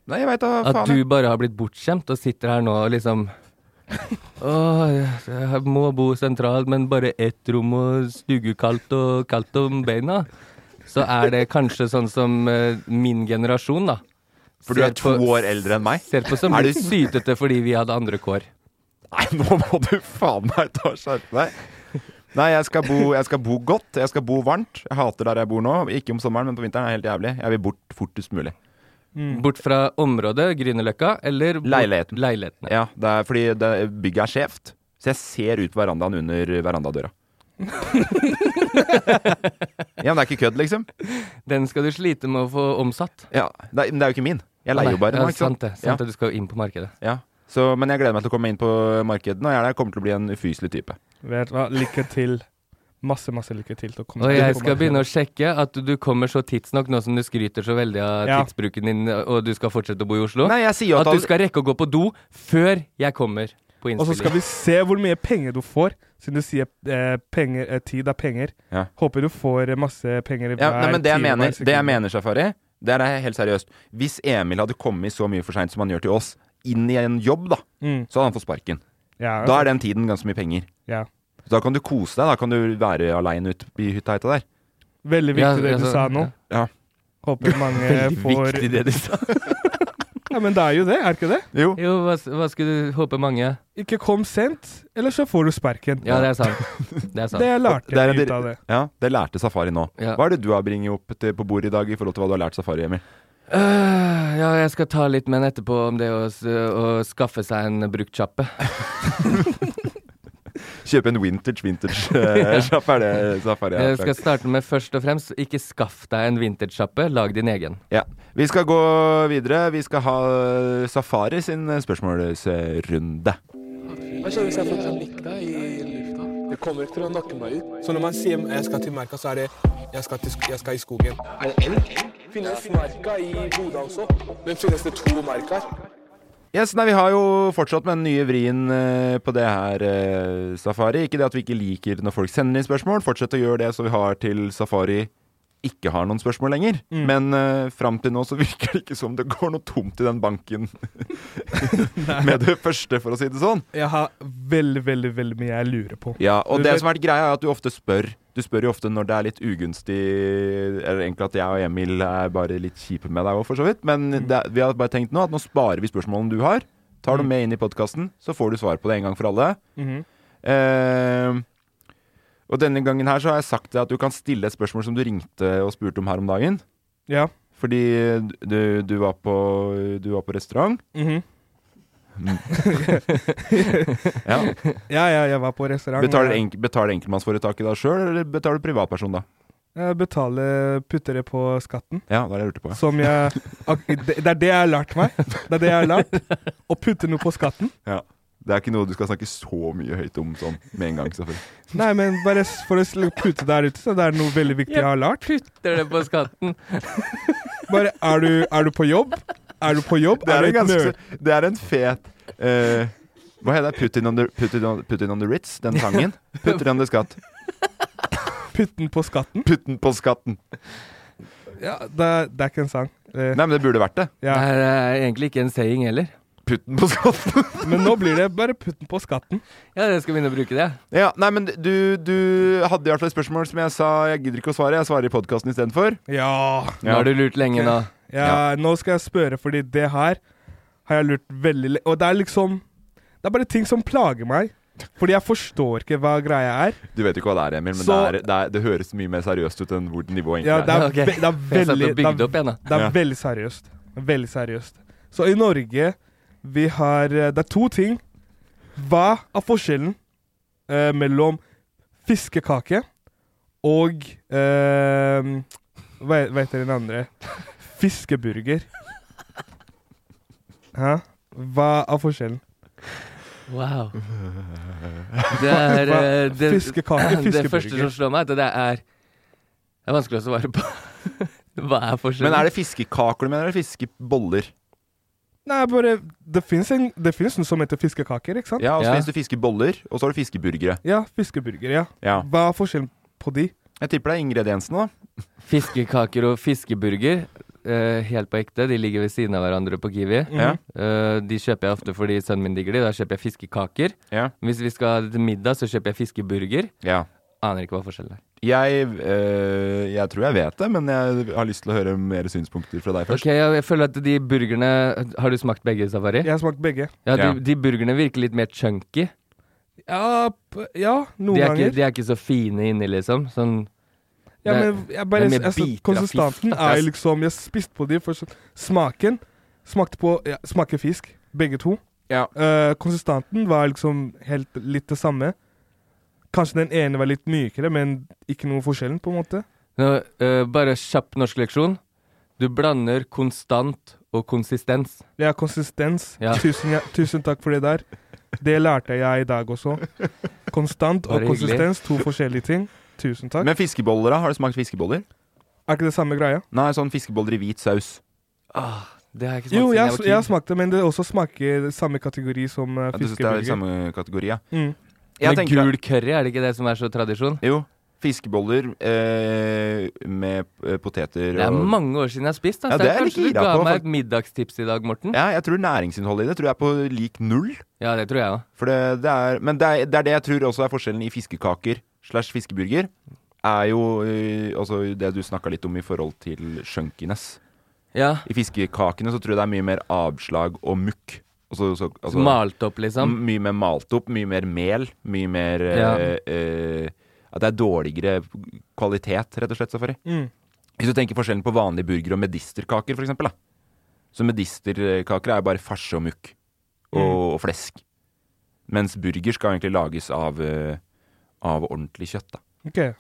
S1: Nei, jeg veit da
S3: At
S1: faen.
S3: du
S1: jeg.
S3: bare har blitt bortskjemt og sitter her nå og liksom Åh, jeg må bo sentralt, men bare ett rom og stugekaldt og kaldt om beina. Så er det kanskje sånn som eh, min generasjon, da.
S1: For du
S3: ser
S1: er to
S3: på-
S1: år eldre enn meg.
S3: Ser på som
S1: Er
S3: litt
S1: du-
S3: sytete fordi vi hadde andre kår.
S1: Nei, nå må du faen meg ta og skjerpe deg. Nei, jeg skal, bo, jeg skal bo godt. Jeg skal bo varmt. Jeg hater der jeg bor nå. Ikke om sommeren, men på vinteren er det helt jævlig. Jeg vil bort fortest mulig.
S2: Mm.
S3: Bort fra området, Grünerløkka, eller bort-
S1: Leiligheten.
S3: leilighetene.
S1: Ja, det er fordi det, bygget er skjevt. Så jeg ser ut verandaen under verandadøra. ja, men det er ikke kødd, liksom.
S3: Den skal du slite med å få omsatt.
S1: Ja, det er, men det er jo ikke min. Jeg leier jo bare. nå,
S3: Ja,
S1: ikke sant?
S3: sant det.
S1: Ja.
S3: Sant det. Du skal jo inn på markedet.
S1: Ja. Så, men jeg gleder meg til å komme inn på markedet når jeg er der. Jeg Kommer til å bli en ufyselig type.
S2: Vet du hva, lykke til. Masse, masse lykke til. til å komme
S3: Og
S2: deg
S3: jeg
S2: Mm. på
S3: skal
S2: markedet.
S3: begynne å sjekke at du kommer så tidsnok nå som du skryter så veldig av
S2: Ja.
S3: tidsbruken din, og du skal fortsette å bo i Oslo.
S1: Nei, jeg sier jo
S3: at du
S1: at alle-
S3: skal rekke å gå på do før jeg kommer på
S2: Og så skal
S3: innspilling.
S2: vi se hvor mye penger du får, siden du sier eh, penger, eh, tid er penger.
S1: Ja.
S2: Håper du får eh, masse penger i
S1: Ja,
S2: hver
S1: nei, men det jeg
S2: time, hver
S1: mener, det jeg
S2: sekund.
S1: mener Safari, det er helt seriøst. Hvis Emil hadde kommet så mye for seint som han gjør til oss, inn i en jobb, da,
S2: Mm.
S1: så hadde han fått sparken.
S2: Ja, altså,
S1: Da er den tiden ganske mye penger.
S2: ja.
S1: Så da kan du kose deg. Da kan du være aleine ute i hytteheita der.
S2: Veldig viktig
S3: Ja,
S2: det du
S3: altså,
S2: sa nå.
S1: Ja.
S2: Håper mange får
S1: Viktig det du sa.
S2: Ja, men det er jo det, er ikke det?
S1: Jo.
S3: Jo, hva, hva skulle du håpe mange
S2: Ikke kom sent, eller så får du sparken.
S3: Ja, det er sant. Det er sant.
S2: Det lærte
S1: Det, er
S2: jeg
S1: en
S2: ut av det.
S1: dir- ja, det lærte Safari nå.
S3: Ja.
S1: Hva er det du har bringet opp til, på bordet i dag i forhold til hva du har lært Safari, Emil?
S3: Øh, ja, jeg skal ta litt med en etterpå om det å, s- å skaffe seg en bruktsjappe.
S1: Kjøpe en vintage vintage-sjapp, er det Safari har
S3: Jeg skal
S1: sagt.
S3: starte med først og fremst ikke skaff deg en vintage-sjappe, lag din egen.
S1: Ja. Vi skal gå videre. Vi skal ha eh, Safari sin spørsmålsrunde.
S4: Så når man sier jeg skal til merka, så er det jeg skal, til, sk- jeg skal i skogen. Er det elg? Finnes merka i Bodø også? Men finnes det to merker?
S1: Yes, nei, Vi har jo fortsatt med den nye vrien eh, på det her, eh, Safari. Ikke det at vi ikke liker når folk sender inn spørsmål. Fortsett å gjøre det så vi har til Safari ikke har noen spørsmål lenger.
S2: Mm.
S1: Men uh, fram til nå så virker det ikke som det går noe tomt i den banken med det første, for å si det sånn.
S2: Jeg har veldig, veldig veldig mye jeg lurer på.
S1: Ja, og
S2: Du
S1: det
S2: vet-
S1: som har vært greia, er at du ofte spør. Du spør jo ofte når det er litt ugunstig Eller egentlig at jeg og Emil er bare litt kjipe med deg òg, for så vidt. Men
S2: Mm.
S1: det, vi har bare tenkt nå at nå sparer vi spørsmålene du har. Tar
S2: Mm.
S1: dem med inn i podkasten, så får du svar på det en gang for alle.
S2: Mhm.
S1: Eh, og denne gangen her så har jeg sagt deg at du kan stille et spørsmål som du ringte og spurte om her om dagen.
S2: Ja.
S1: Fordi du, du, var, på, du var på restaurant.
S2: Mhm.
S1: Ja.
S2: ja, ja, jeg var på restaurant.
S1: Betaler,
S2: og-
S1: enk, betaler enkeltmannsforetaket da sjøl, eller betaler du privatperson da?
S2: Jeg betaler putter det på skatten.
S1: Ja, det var det jeg lurte på.
S2: Som jeg ak Det det er det jeg har lært meg. Det er det jeg har lært. Å putte noe på skatten.
S1: Ja. Det er ikke noe du skal snakke så mye høyt om sånn med en gang. selvfølgelig.
S2: Nei, men bare s- for å sl- putte der ute, så det er noe veldig viktig jeg har lært.
S3: Putter det på skatten.
S2: Bare er du, er du på jobb? Er du på jobb?
S1: Det er,
S2: du
S1: en
S2: et
S1: ganske,
S2: nøl?
S1: det er en fet eh, Hva heter det? Put it, on the, put, it on, put it on the Ritz, den sangen. Put it on the skatt.
S2: Putte den på skatten?
S1: Put den på skatten.
S2: Ja, det, er- det er ikke en sang. Eh,
S1: Nei, men det burde vært det.
S2: ja.
S3: Det er egentlig ikke en saying heller.
S1: Put den på skatten.
S2: Men nå blir det bare putt den på skatten.
S3: Ja, jeg skal begynne å bruke det.
S1: Ja, nei, men du, du hadde i hvert fall et spørsmål som jeg sa jeg gidder ikke å svare. Jeg svarer i podkasten istedenfor.
S2: Ja.
S3: Nå har du lurt lenge nå.
S2: Ja, Nå skal jeg spørre, fordi det her har jeg lurt veldig lenge Og det er liksom Det er bare ting som plager meg. Fordi jeg forstår ikke hva greia er.
S1: Du vet jo ikke hva det er, Emil, men
S2: Så-
S1: det, er, det, er, det høres mye mer seriøst ut enn hvor nivået egentlig
S2: Ja, det, er,
S3: Ok.
S2: ve det er
S3: Jeg satt
S2: veldig
S3: og
S2: det
S3: bygde
S2: er,
S3: opp igjen, da.
S2: det er
S1: Ja.
S2: veldig seriøst. Veldig seriøst. Så i Norge vi har eh, Det er to ting. Hva er forskjellen eh, mellom fiskekake og eh, Hva he- hva heter den andre? Fiskeburger. Hæ? Hva er forskjellen?
S3: Wow. Det er eh, det,
S2: Fiskekake,
S3: Det første som
S2: fiskeburger.
S3: slår meg, er at det er Det er vanskelig å svare på. Hva er forskjellen?
S1: Men er det fiskekaker du mener, eller fiskeboller?
S2: Nei, bare Det fins noe som heter fiskekaker, ikke sant?
S1: Ja, altså, og så
S3: Ja.
S1: finnes det fiskeboller, og så har du fiskeburgere.
S2: Ja, fiskeburger, ja.
S1: Ja.
S2: Hva er forskjellen på de?
S1: Jeg tipper det er ingrediensene, da.
S3: Fiskekaker og fiskeburger, eh, helt på ekte, de ligger ved siden av hverandre på Kiwi.
S2: Mhm.
S1: Ja.
S3: Eh, de kjøper jeg ofte fordi sønnen min digger de. Da kjøper jeg fiskekaker.
S1: Ja.
S3: Hvis vi skal til middag, så kjøper jeg fiskeburger.
S1: ja.
S3: Aner ikke hva forskjellen er.
S1: Jeg, øh, jeg tror jeg vet det, men jeg har lyst til å høre mer synspunkter fra deg først.
S3: Ok, jeg, jeg føler at de burgerne Har du smakt begge, Safari?
S2: Jeg har smakt begge.
S3: Ja, de,
S1: Ja.
S3: de burgerne virker litt mer chunky.
S2: Ja, p- ja noen
S3: De er, ikke,
S2: ganger.
S3: de er ikke så fine inni, liksom. Sånn
S2: ja,
S3: det er-
S2: men jeg bare,
S3: det er med
S2: altså,
S3: biter av
S2: konsistensen
S3: fisk.
S2: er jo liksom Jeg spiste på de, for så- smaken smakte på ja, Smaker fisk, begge to.
S1: Ja.
S2: Eh, konsistensen var liksom helt litt det samme. Kanskje den ene var litt mykere, men ikke noe forskjellen, på en måte.
S3: Nå, eh, Bare kjapp norskleksjon. Du blander konstant og konsistens.
S2: Det er konsistens.
S3: Ja.
S2: Tusen, ja, tusen takk for det der. Det lærte jeg i dag også. Konstant og
S3: Bare hyggelig.
S2: konsistens, to forskjellige ting. Tusen takk.
S1: Men fiskeboller, da? Har du smakt fiskeboller?
S2: er ikke det samme greia?
S1: Nei, sånn fiskeboller i hvit saus.
S3: Det har jeg ikke smakt
S2: Ah. Jo,
S3: siden
S2: jeg,
S3: jeg var
S2: jeg har
S3: kid.
S2: smakt det, men det også smaker samme kategori som uh,
S1: Ja, du syns det er i
S2: fiskeburger.
S1: samme kategori, ja?
S2: Mm.
S1: Jeg
S3: Med
S1: tenker at-
S3: gul curry, er det ikke det som er så tradisjon?
S1: Jo. Fiskeboller eh, med eh, poteter
S3: Det er
S1: og
S3: mange år siden jeg har spist. Da.
S1: Ja,
S3: så
S1: det er jeg
S3: kanskje
S1: litt
S3: du
S1: gira
S3: ga
S1: på,
S3: meg
S1: fakt-
S3: et middagstips i dag, Morten. Ja,
S1: Ja, jeg tror næringsinnholdet i det tror jeg er på lik null.
S3: det tror jeg òg.
S1: For det, det er, men det er, det er det jeg tror også er forskjellen i fiskekaker slash fiskeburger. Er jo eh, altså det du snakka litt om i forhold til chunkiness.
S3: Ja.
S1: I fiskekakene så tror jeg det er mye mer avslag og mukk. Altså, så, altså,
S3: Malt opp, liksom.
S1: m- Mye mer malt opp, mye mer mel, mye mer eh, eh, At det er dårligere kvalitet, rett og slett, Safari.
S2: Mm.
S1: Hvis du tenker forskjellen på vanlig burger og medisterkaker, for eksempel, da. Så medisterkaker er jo bare farse og mukk og,
S3: Mm.
S1: og flesk. Mens burger skal egentlig lages av, eh, av ordentlig kjøtt, da.
S2: Ok.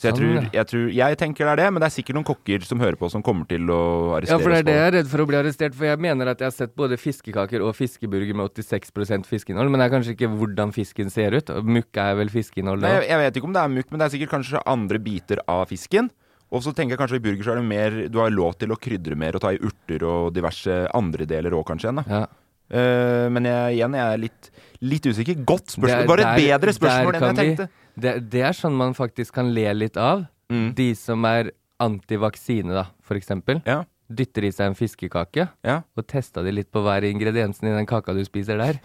S1: Så jeg,
S3: Sånn,
S1: tror, jeg tror Jeg tenker det er det, men det er sikkert noen kokker som hører på, som kommer til å
S3: Ja,
S1: arrestere
S3: for det er
S1: oss på
S3: det jeg er redd for å bli arrestert for. Jeg mener at jeg har sett både fiskekaker og fiskeburger med 86 fiskeinnhold, men det er kanskje ikke hvordan fisken ser ut. Og Mukk er vel fiskeinnhold,
S1: Nei,
S3: det
S1: jeg, jeg vet ikke om det er mukk, men det er sikkert kanskje andre biter av fisken. Og så tenker jeg kanskje i burger så er det mer Du har lov til å krydre mer og ta i urter og diverse andre deler òg, kanskje. Igjen, da.
S3: også. Ja.
S1: Eh, men jeg, igjen, jeg er litt, litt usikker. Godt
S3: Det er-
S1: spørsmål. Det var et
S3: der-
S1: bedre
S3: der
S1: spørsmål enn jeg
S3: kan vi-
S1: tenkte.
S3: Det, det er sånn man faktisk kan le litt av.
S1: Mm.
S3: De som er antivaksine, da, for eksempel.
S1: Ja,
S3: Dytter i seg en fiskekake,
S1: ja.
S3: og testa de litt på hver ingrediensen i den kaka du spiser der.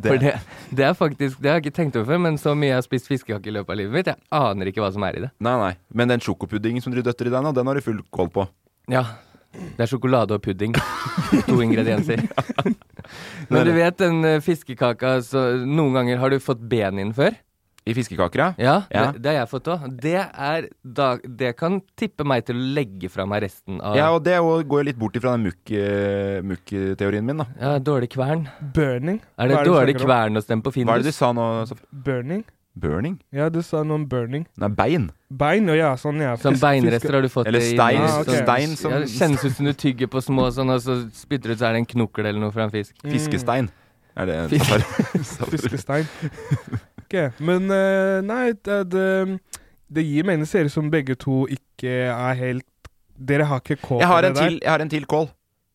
S1: Det-
S3: For det, det er faktisk Det har jeg ikke tenkt over før, men så mye jeg har spist fiskekake i løpet av livet mitt, jeg aner ikke hva som er i det.
S1: Nei, nei. Men den sjokopuddingen som du døtter i deg nå, den har du full koll på.
S3: Ja. Det er sjokolade og pudding. To ingredienser. Men du vet den eh, fiskekaka så Noen ganger har du fått ben inn før.
S1: I fiskekaker, ja.
S3: Ja,
S1: Ja.
S3: Det, det har jeg fått òg. Det, er da- det kan tippe meg til å legge fra meg resten av
S1: Ja, og det jo- går jo litt bort ifra den mukk- eh, mukk-teorien min, da.
S3: Ja, dårlig kvern.
S2: Burning.
S3: Er det
S2: Hva
S3: dårlig
S2: du snakker om?
S3: kvern å stemme på
S1: Hva er det du
S3: Findus?
S1: sa nå? Sofie?
S2: Burning?
S1: Burning?
S2: Ja, du sa noe om burning.
S1: Nei, bein.
S2: Bein, og ja, sånn, ja.
S3: Som
S2: Fisk-
S3: beinrester har du fått
S1: Eller
S3: det i
S1: stein.
S3: den.
S2: Ah, ok.
S1: Stein som
S3: ja, Det kjennes ut som du tygger på små sånn, og så spytter du ut, så er det en knokkel eller noe fra en fisk.
S1: Mm. Fiskestein. Er det
S3: Fisk-
S2: fiske- Fiskestein. Ok, men eh, nei, det, det, det gir mening. Det ser ut som begge to ikke er helt Dere har ikke kål
S1: Jeg
S2: på
S1: har
S2: det
S1: en
S2: der.
S1: til, jeg har en til kål.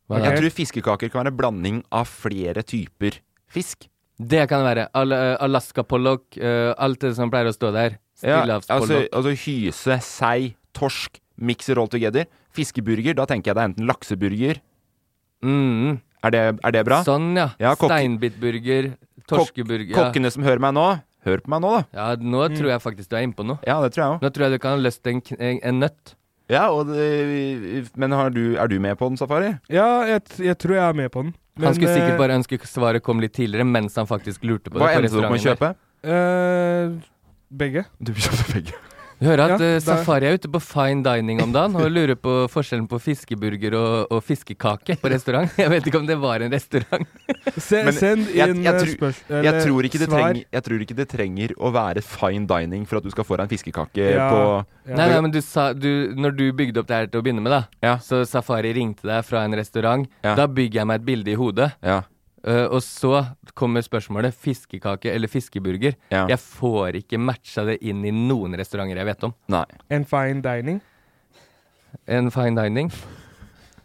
S3: Hva
S1: Jeg
S3: da?
S1: tror fiskekaker kan være en blanding av flere typer fisk.
S3: Det kan det være. Al eh, Alaska pollock, eh, alt det som pleier å stå der.
S1: altså,
S3: Stillehavspollock.
S1: altså hyse, sei, torsk, mikser all together. Fiskeburger, da tenker jeg det er enten lakseburger
S3: mm.
S1: Er det, er det bra?
S3: Sånn, ja.
S1: Ja, kokk-
S3: Steinbitburger, torskeburger. ja.
S1: Kokkene som hører meg nå, hør på meg nå, da.
S3: Ja, nå
S1: Mm.
S3: tror jeg faktisk du er innpå noe.
S1: Ja, det tror jeg òg.
S3: Nå tror jeg du kan løste en, kn- en, en nøtt.
S1: Ja, og det, men har du, er du med på den, Safari?
S2: Ja, jeg, t- jeg tror jeg er med på den. Men,
S3: han skulle sikkert
S2: eh,
S3: bare ønske svaret kom litt tidligere, mens han faktisk lurte på
S1: Hva
S3: det. på
S1: endte du opp med å
S3: restauranten der.
S1: kjøpe?
S2: eh, Begge.
S1: Du kjøpte begge.
S3: Du hører at
S2: Ja,
S3: eh,
S2: det er-
S3: Safari er ute på fine dining om dagen og lurer på forskjellen på fiskeburger og, og fiskekake på restaurant. Jeg vet ikke om det var en restaurant.
S2: Se,
S1: Men
S2: send
S1: jeg-
S2: inn eh,
S1: jeg tror-
S2: spørsmål
S1: Jeg tror, ikke det trenger, jeg tror ikke det trenger å være fine dining for at du skal få deg en fiskekake
S2: Ja.
S1: på
S2: Ja.
S3: Nei, nei, men du sa du, Når du bygde opp det her til å begynne med, da,
S1: Ja.
S3: så Safari ringte deg fra en restaurant.
S1: Ja.
S3: Da bygger jeg meg et bilde i hodet,
S1: Ja.
S3: eh, og så kommer spørsmålet fiskekake eller fiskeburger.
S1: Ja.
S3: Jeg får ikke matcha det inn i noen restauranter jeg vet om.
S1: Nei.
S2: En fine dining.
S3: En fine dining.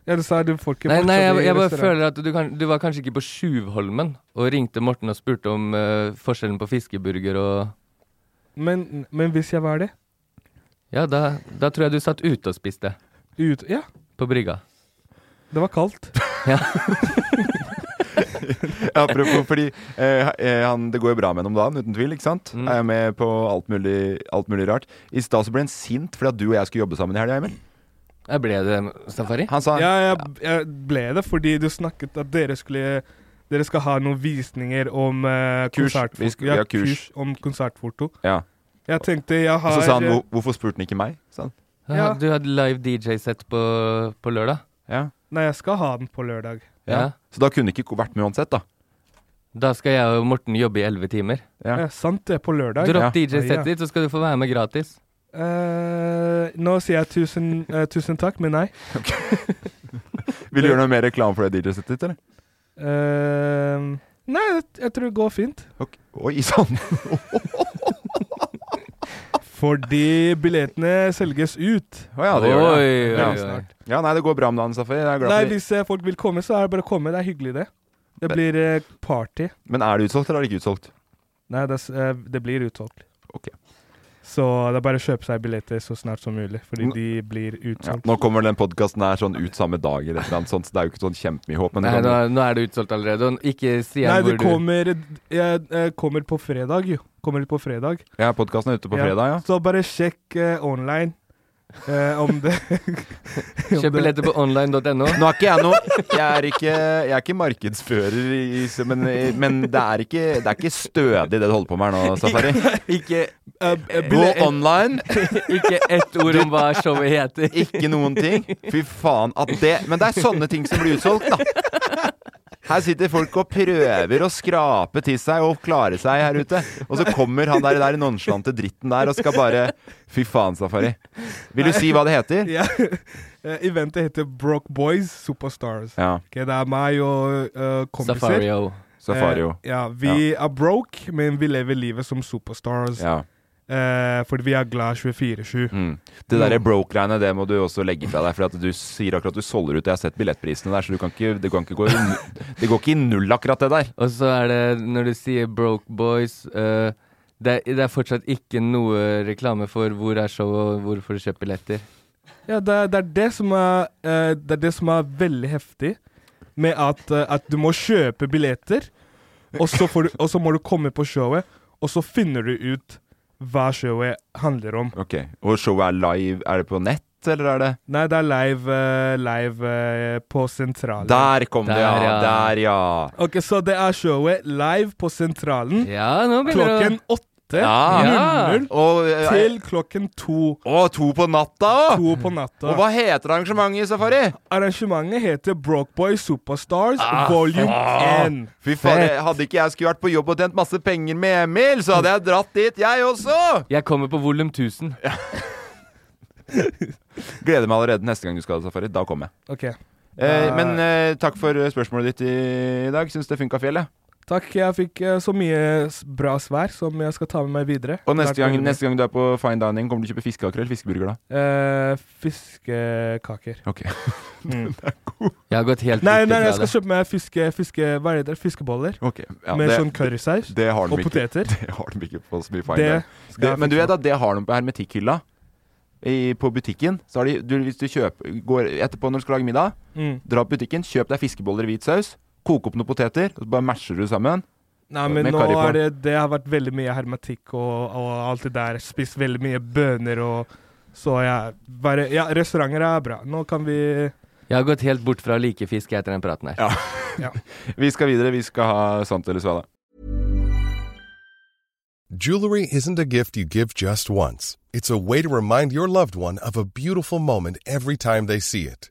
S2: Ja, du sa du får ikke
S3: Nei,
S2: matcha
S3: nei
S2: det
S3: jeg,
S2: i
S3: jeg bare
S2: restaurant.
S3: føler at du, kan, du var kanskje ikke på Sjuvholmen og ringte Morten og spurte om eh, forskjellen på fiskeburger og
S2: men, men hvis jeg var det
S3: Ja, da, da tror jeg du satt ute og spiste
S2: ut, Ja,
S3: på brygga.
S2: det var kaldt.
S1: Apropos, fordi eh, eh, han, det går jo bra med ham om dagen, uten tvil. ikke sant?
S3: Mm.
S1: Er jeg med på alt mulig, alt mulig rart. I stad så ble han sint fordi at du og jeg skulle jobbe sammen i helga, Emil.
S3: Der ble det safari.
S1: Han sa
S2: Ja, jeg, jeg ble det fordi du snakket at dere skulle dere skal ha noen visninger om eh,
S1: Kurs.
S2: konsertfo-
S1: Vi skal-
S2: ja,
S1: ja,
S2: kurs.
S1: kurs.
S2: om konsertfoto.
S1: Ja.
S2: Jeg tenkte jeg
S1: Og
S2: har
S1: så sa han
S2: eh,
S1: "Hvor- 'hvorfor spurte han ikke meg'? Sa han.
S3: Ja,
S2: Ja.
S3: du hadde live DJ-sett på, på lørdag.
S1: Ja.
S2: Nei, jeg skal ha den på lørdag.
S3: Ja.
S1: Så da kunne ikke ko- vært med uansett, da.
S3: Da skal jeg og Morten jobbe i elleve timer.
S1: Ja.
S2: Eh, sant det, på lørdag.
S3: Dropp
S1: Ja.
S3: DJ-settet
S2: Ja.
S3: ditt, så skal du få være med gratis.
S2: Eh, nå sier jeg tusen, eh, tusen takk, men nei.
S1: Vil du gjøre noe mer reklame for det DJ-settet ditt, eller?
S2: Eh, nei, jeg, jeg tror det går fint.
S1: Ok. Oi, sånn. sann!
S2: Fordi billettene selges ut.
S1: Å ja, det gjør
S3: oi,
S1: det.
S3: oi,
S1: Ja,
S3: oi.
S2: snart.
S1: Ja, nei, det går bra om dagen, Safari. Jeg er glad
S2: Nei,
S1: for det.
S2: hvis eh, folk vil komme, så er det bare å komme. Det er hyggelig, det. Det
S1: Men-
S2: blir eh, party.
S1: Men er det utsolgt, eller er det ikke utsolgt?
S2: Nei, det, s- eh, det blir utsolgt.
S1: Ok.
S2: Så det er bare å kjøpe seg billetter så snart som mulig, fordi
S1: Nå-
S2: de blir
S1: Ja.
S2: utsolgt.
S1: Nå kommer vel den podkasten her sånn ut samme dag, eller et eller annet sånt, så det er jo ikke sånn kjempemye håp. Men det
S3: Nei, nå,
S1: kan...
S3: nå er det utsolgt allerede. og Ikke si
S2: Nei,
S3: han hvor
S2: det
S3: du
S2: kommer Jeg eh, kommer på fredag, jo. Kommer på fredag.
S1: Ja, podkasten er ute på
S2: Ja.
S1: fredag, ja.
S2: Så bare sjekk eh, online eh, om det om
S3: Kjøp
S2: det-
S3: billetter på online.no.
S1: Nå er ikke jeg noe Jeg er ikke, jeg er ikke markedsfører, i, men, men det, er ikke, det er ikke stødig det du holder på med her nå, Safari.
S3: Ikke,
S2: Eh, eh,
S1: Gå
S2: bille-
S1: online,
S3: ikke ett ord om hva showet heter.
S1: ikke noen ting. Fy faen at det Men det er sånne ting som blir utsolgt, da. Her sitter folk og prøver å skrape til seg og klare seg her ute. Og så kommer han der, der nonslante dritten der og skal bare Fy faen, Safari. Vil du si hva det heter?
S2: ja. Eh, Eventet heter Broke Boys Superstars.
S1: Ja.
S2: Ok, det er meg og eh, kompiser.
S3: Safario.
S1: Safario.
S2: Eh, ja, vi er broke, men vi lever livet som superstars.
S1: Ja.
S2: Eh, fordi vi er glad 24-7.
S1: Mm. Det derre broke-greiene, det må du også legge fra deg. For at du sier akkurat du solder ut. Jeg har sett billettprisene der, så du kan ikke, det, kan ikke gå i, nu- det går ikke i null, akkurat det der.
S3: Og så er det, når du sier Broke Boys eh, det, er- det er fortsatt ikke noe reklame for hvor er showet, og hvorfor du kjøper billetter.
S2: Ja, det, er- det, er det, som er, eh, det er det som er veldig heftig med at, eh, at du må kjøpe billetter, og så, får du, og så må du komme på showet, og så finner du ut hva showet handler om.
S1: Ok, Og showet er live. Er det på nett, eller er det
S2: Nei, det er live, eh, live eh, på Sentralen.
S1: Der kom det,
S3: Der,
S1: ja!
S3: ja.
S1: Der, ja.
S2: Ok, Så det er showet live på Sentralen
S3: Ja, nå begynner
S2: klokken åtte 8
S1: Ja.
S2: 00
S1: Og, eh,
S2: til klokken to.
S1: å, to på natta òg!
S2: To på
S1: Og
S2: natta.
S1: hva heter arrangementet i Safari?
S2: Arrangementet heter Brokeboy Superstars volume 1.
S1: Fy Ah, faen, jeg- Hadde ikke jeg skulle vært på jobb og tjent masse penger med Emil, så hadde jeg dratt dit, jeg også!
S3: Jeg kommer på volum 1000.
S1: Gleder meg allerede neste gang du skal ha Safari. Da kommer jeg.
S2: Ok,
S1: Eh,
S2: Da-
S1: men eh, takk for eh, spørsmålet ditt i dag. Syns det funka fjellet.
S2: Takk, jeg fikk eh, så mye s- bra svær som jeg skal ta med meg videre.
S1: Og
S2: Takk
S1: neste
S2: for
S1: gang,
S2: det.
S1: neste gang du er på fine dining, kommer du kjøpe fiskeakrell? Fiskeburger, da?
S2: Eh, Fiskekaker.
S1: Ok. Mm.
S3: Jeg har gått helt
S2: Nei,
S3: bort
S2: nei,
S3: ifra
S2: jeg skal
S3: det.
S2: kjøpe meg fiske, fiske, hva heter det, fiskeboller
S1: Ok, ja,
S2: med
S1: det,
S2: sånn currysaus
S1: det har de
S2: og
S1: ikke.
S2: poteter.
S1: Det har de ikke på så mye fine
S2: Det
S1: dining.
S2: skal
S1: Det,
S2: jeg
S1: men du
S2: fikse.
S1: vet at det har de på hermetikkhylla. I, på butikken. Så har de, du, hvis du kjøper, går etterpå når du skal lage middag,
S2: Mm.
S1: dra på butikken, kjøp deg fiskeboller i hvit saus, koke opp noen poteter, og så bare masher du sammen.
S2: Nei, men
S1: med
S2: nå
S1: curry på.
S2: er det, det har vært veldig mye hermetikk og, og alt det der. Spist veldig mye bønner og Så jeg bare Ja, restauranter er bra. Nå kan vi
S3: Jeg har gått helt bort fra å like fisk etter den praten her.
S1: Vi skal videre. Vi skal ha sant eller svada.
S5: Jewelry isn't a gift you give just once. It's a way to remind your loved one of a beautiful moment every time they see it.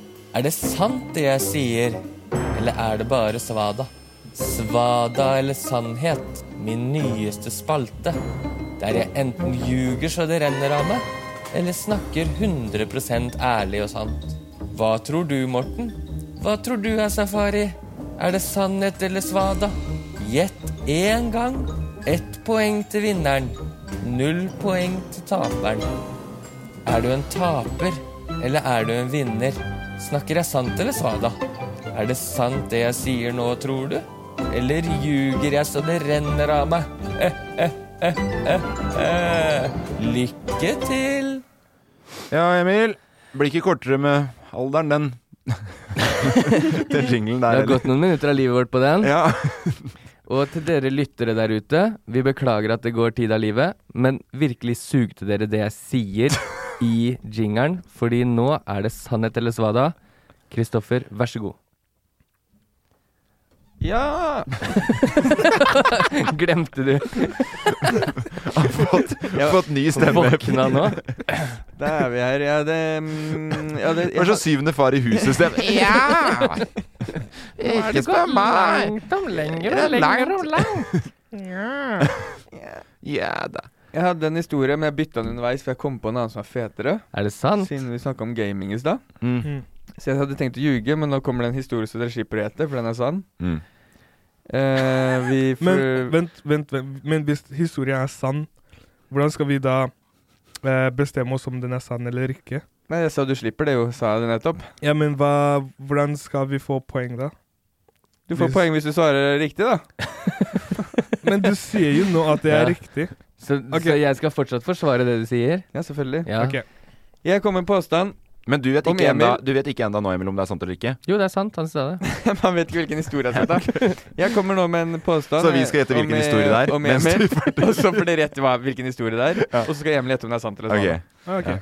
S3: Er det sant det jeg sier, eller er det bare svada? Svada eller sannhet, min nyeste spalte. Der jeg enten ljuger så det renner av meg, eller snakker 100 ærlig og sant. Hva tror du, Morten? Hva tror du er safari? Er det sannhet eller svada? Gjett én gang. Ett poeng til vinneren. Null poeng til taperen. Er du en taper, eller er du en vinner? Snakker jeg sant eller svada? Er det sant det jeg sier nå, tror du? Eller ljuger jeg så det renner av meg? Eh, eh, eh, eh, eh. Lykke til!
S1: Ja, Emil. Blir ikke kortere med alderen, den. den jinglen
S3: Det
S1: der.
S3: har gått noen minutter av livet vårt på den.
S1: Ja.
S3: Og til dere lyttere der ute, vi beklager at det går tid av livet, men virkelig sugde dere det jeg sier i jingeren, fordi nå er det sannhet eller svada. Kristoffer, vær så god.
S1: ja.
S3: Glemte du?
S1: Fått, fått ny stemme.
S3: Våkna nå?
S6: Da er vi her. Ja, det, mm, ja, det,
S1: Det var så syvende far i huset Steff. Ja! Ikke spør meg.
S3: om lenger
S1: og lenger og
S3: langt.
S1: Ja da.
S6: jeg hadde en historie, men jeg bytta den underveis, for jeg kom på en annen som er fetere.
S3: Er det
S2: Mm.
S3: sant?
S6: Siden vi snakka om gaming i stad.
S1: Mm.
S6: Så jeg hadde tenkt å ljuge, men nå kommer det en historie som dere slipper å gjette, for den er sann.
S1: Mm.
S6: Eh, vi får eh,
S2: Men vent, vent, vent. Men hvis historien er sann, hvordan skal vi da eh, bestemme oss om den er sann eller ikke?
S6: Nei, jeg sa du slipper det jo, sa jeg det nettopp.
S2: Ja, men hva, hvordan skal vi få poeng, da?
S6: Du får poeng hvis du svarer riktig, da.
S2: Men du sier jo nå at det er
S3: Ja.
S2: riktig.
S3: Så, så jeg skal fortsatt forsvare det du sier?
S6: Ja, selvfølgelig.
S3: Ja.
S2: Ok.
S6: Jeg kom med påstand.
S1: Men du vet,
S6: Om
S1: ikke enda,
S6: Emil.
S1: du vet ikke enda nå, Emil, om det er sant eller ikke?
S3: Jo, det er sant. Han sa det.
S6: Man vet ikke hvilken historie jeg skal ta. Jeg kommer nå med en påstand. eh,
S1: Så vi skal gjette
S6: om-
S1: hvilken historie det er,
S6: Om
S1: mens du
S6: Emil.
S1: forteller.
S6: Og så får dere rett hva, hvilken historie det er. Og så skal Emil gjette om det er sant eller sant.
S1: Ok.
S2: Ah, ok.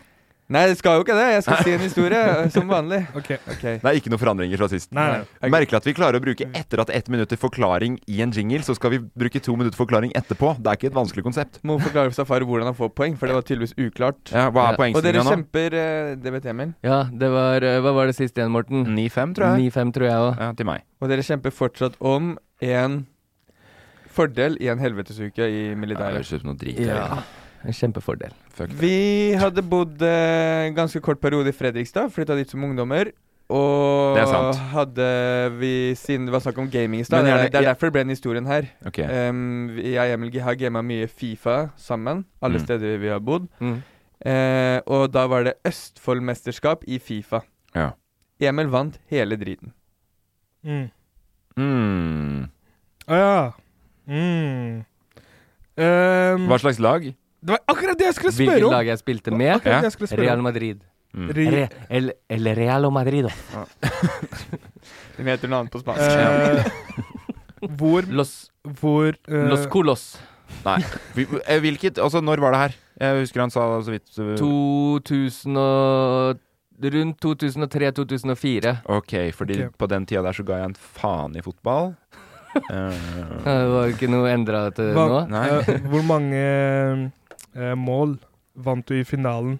S6: Nei, det skal jo ikke det. Jeg skal si en historie, eh, som vanlig.
S2: Ok.
S6: Ok.
S1: Det er ikke noen forandringer fra sist.
S2: Nei, nei.
S1: Merkelig at vi klarer å bruke etter at ett minutt til forklaring i en jingle, så skal vi bruke to minutter forklaring etterpå. Det er ikke et vanskelig konsept.
S6: Må forklare for Safari hvordan han får poeng, for det var tydeligvis uklart.
S3: Ja.
S1: Ja, hva er
S6: Og dere
S1: poengstillinga nå?
S6: kjemper eh, Det vet Emil.
S3: Ja, det var eh, Hva var det siste igjen,
S6: Mm.
S3: Morten?
S1: 9-5, tror jeg.
S3: 9-5, tror jeg òg.
S1: Ja, til meg.
S6: Og dere kjemper fortsatt om en fordel i en helvetesuke i militæret.
S1: ut som noe drit.
S3: Ja. En kjempefordel.
S6: Vi hadde bodd eh, en ganske kort periode i Fredrikstad, flytta dit som ungdommer. Og
S1: Det er sant.
S6: hadde vi, siden det var snakk om gaming i stad,
S1: Men
S6: det,
S1: gjerne-
S6: er- det er derfor det ble den historien her.
S1: Ok.
S6: Em, vi- jeg og Emil har gama mye Fifa sammen, alle
S1: Mm.
S6: steder vi har bodd.
S3: Mm.
S6: Eh, og da var det Østfoldmesterskap i Fifa.
S1: Ja.
S6: Emil vant hele driten.
S2: Mm.
S1: Mm.
S2: Å ja. Mm. Ehm,
S1: Hva slags lag?
S2: det var akkurat det jeg skulle spørre
S3: Hvilket
S2: om!
S3: lag jeg spilte med?
S2: Akkurat det jeg skulle spørre
S3: Real
S2: om.
S3: Madrid.
S2: Ri-
S3: Re el, el Real Madrid.
S6: Den heter noe annet på spansk.
S2: Eh, hvor
S3: Los,
S2: hvor eh,
S3: Los Colos.
S1: Nei. Vi- eh, Hvilket Altså, når var det her? Jeg husker han sa så vidt eh,
S3: 2000 og Rundt 2003-2004.
S1: Ok, fordi
S2: Ok.
S1: på den tida der så ga jeg en faen i fotball. Eh,
S3: Det var ikke noe endra til
S2: Hva-
S3: nå.
S1: nei.
S2: eh, hvor mange eh, mål vant du i finalen?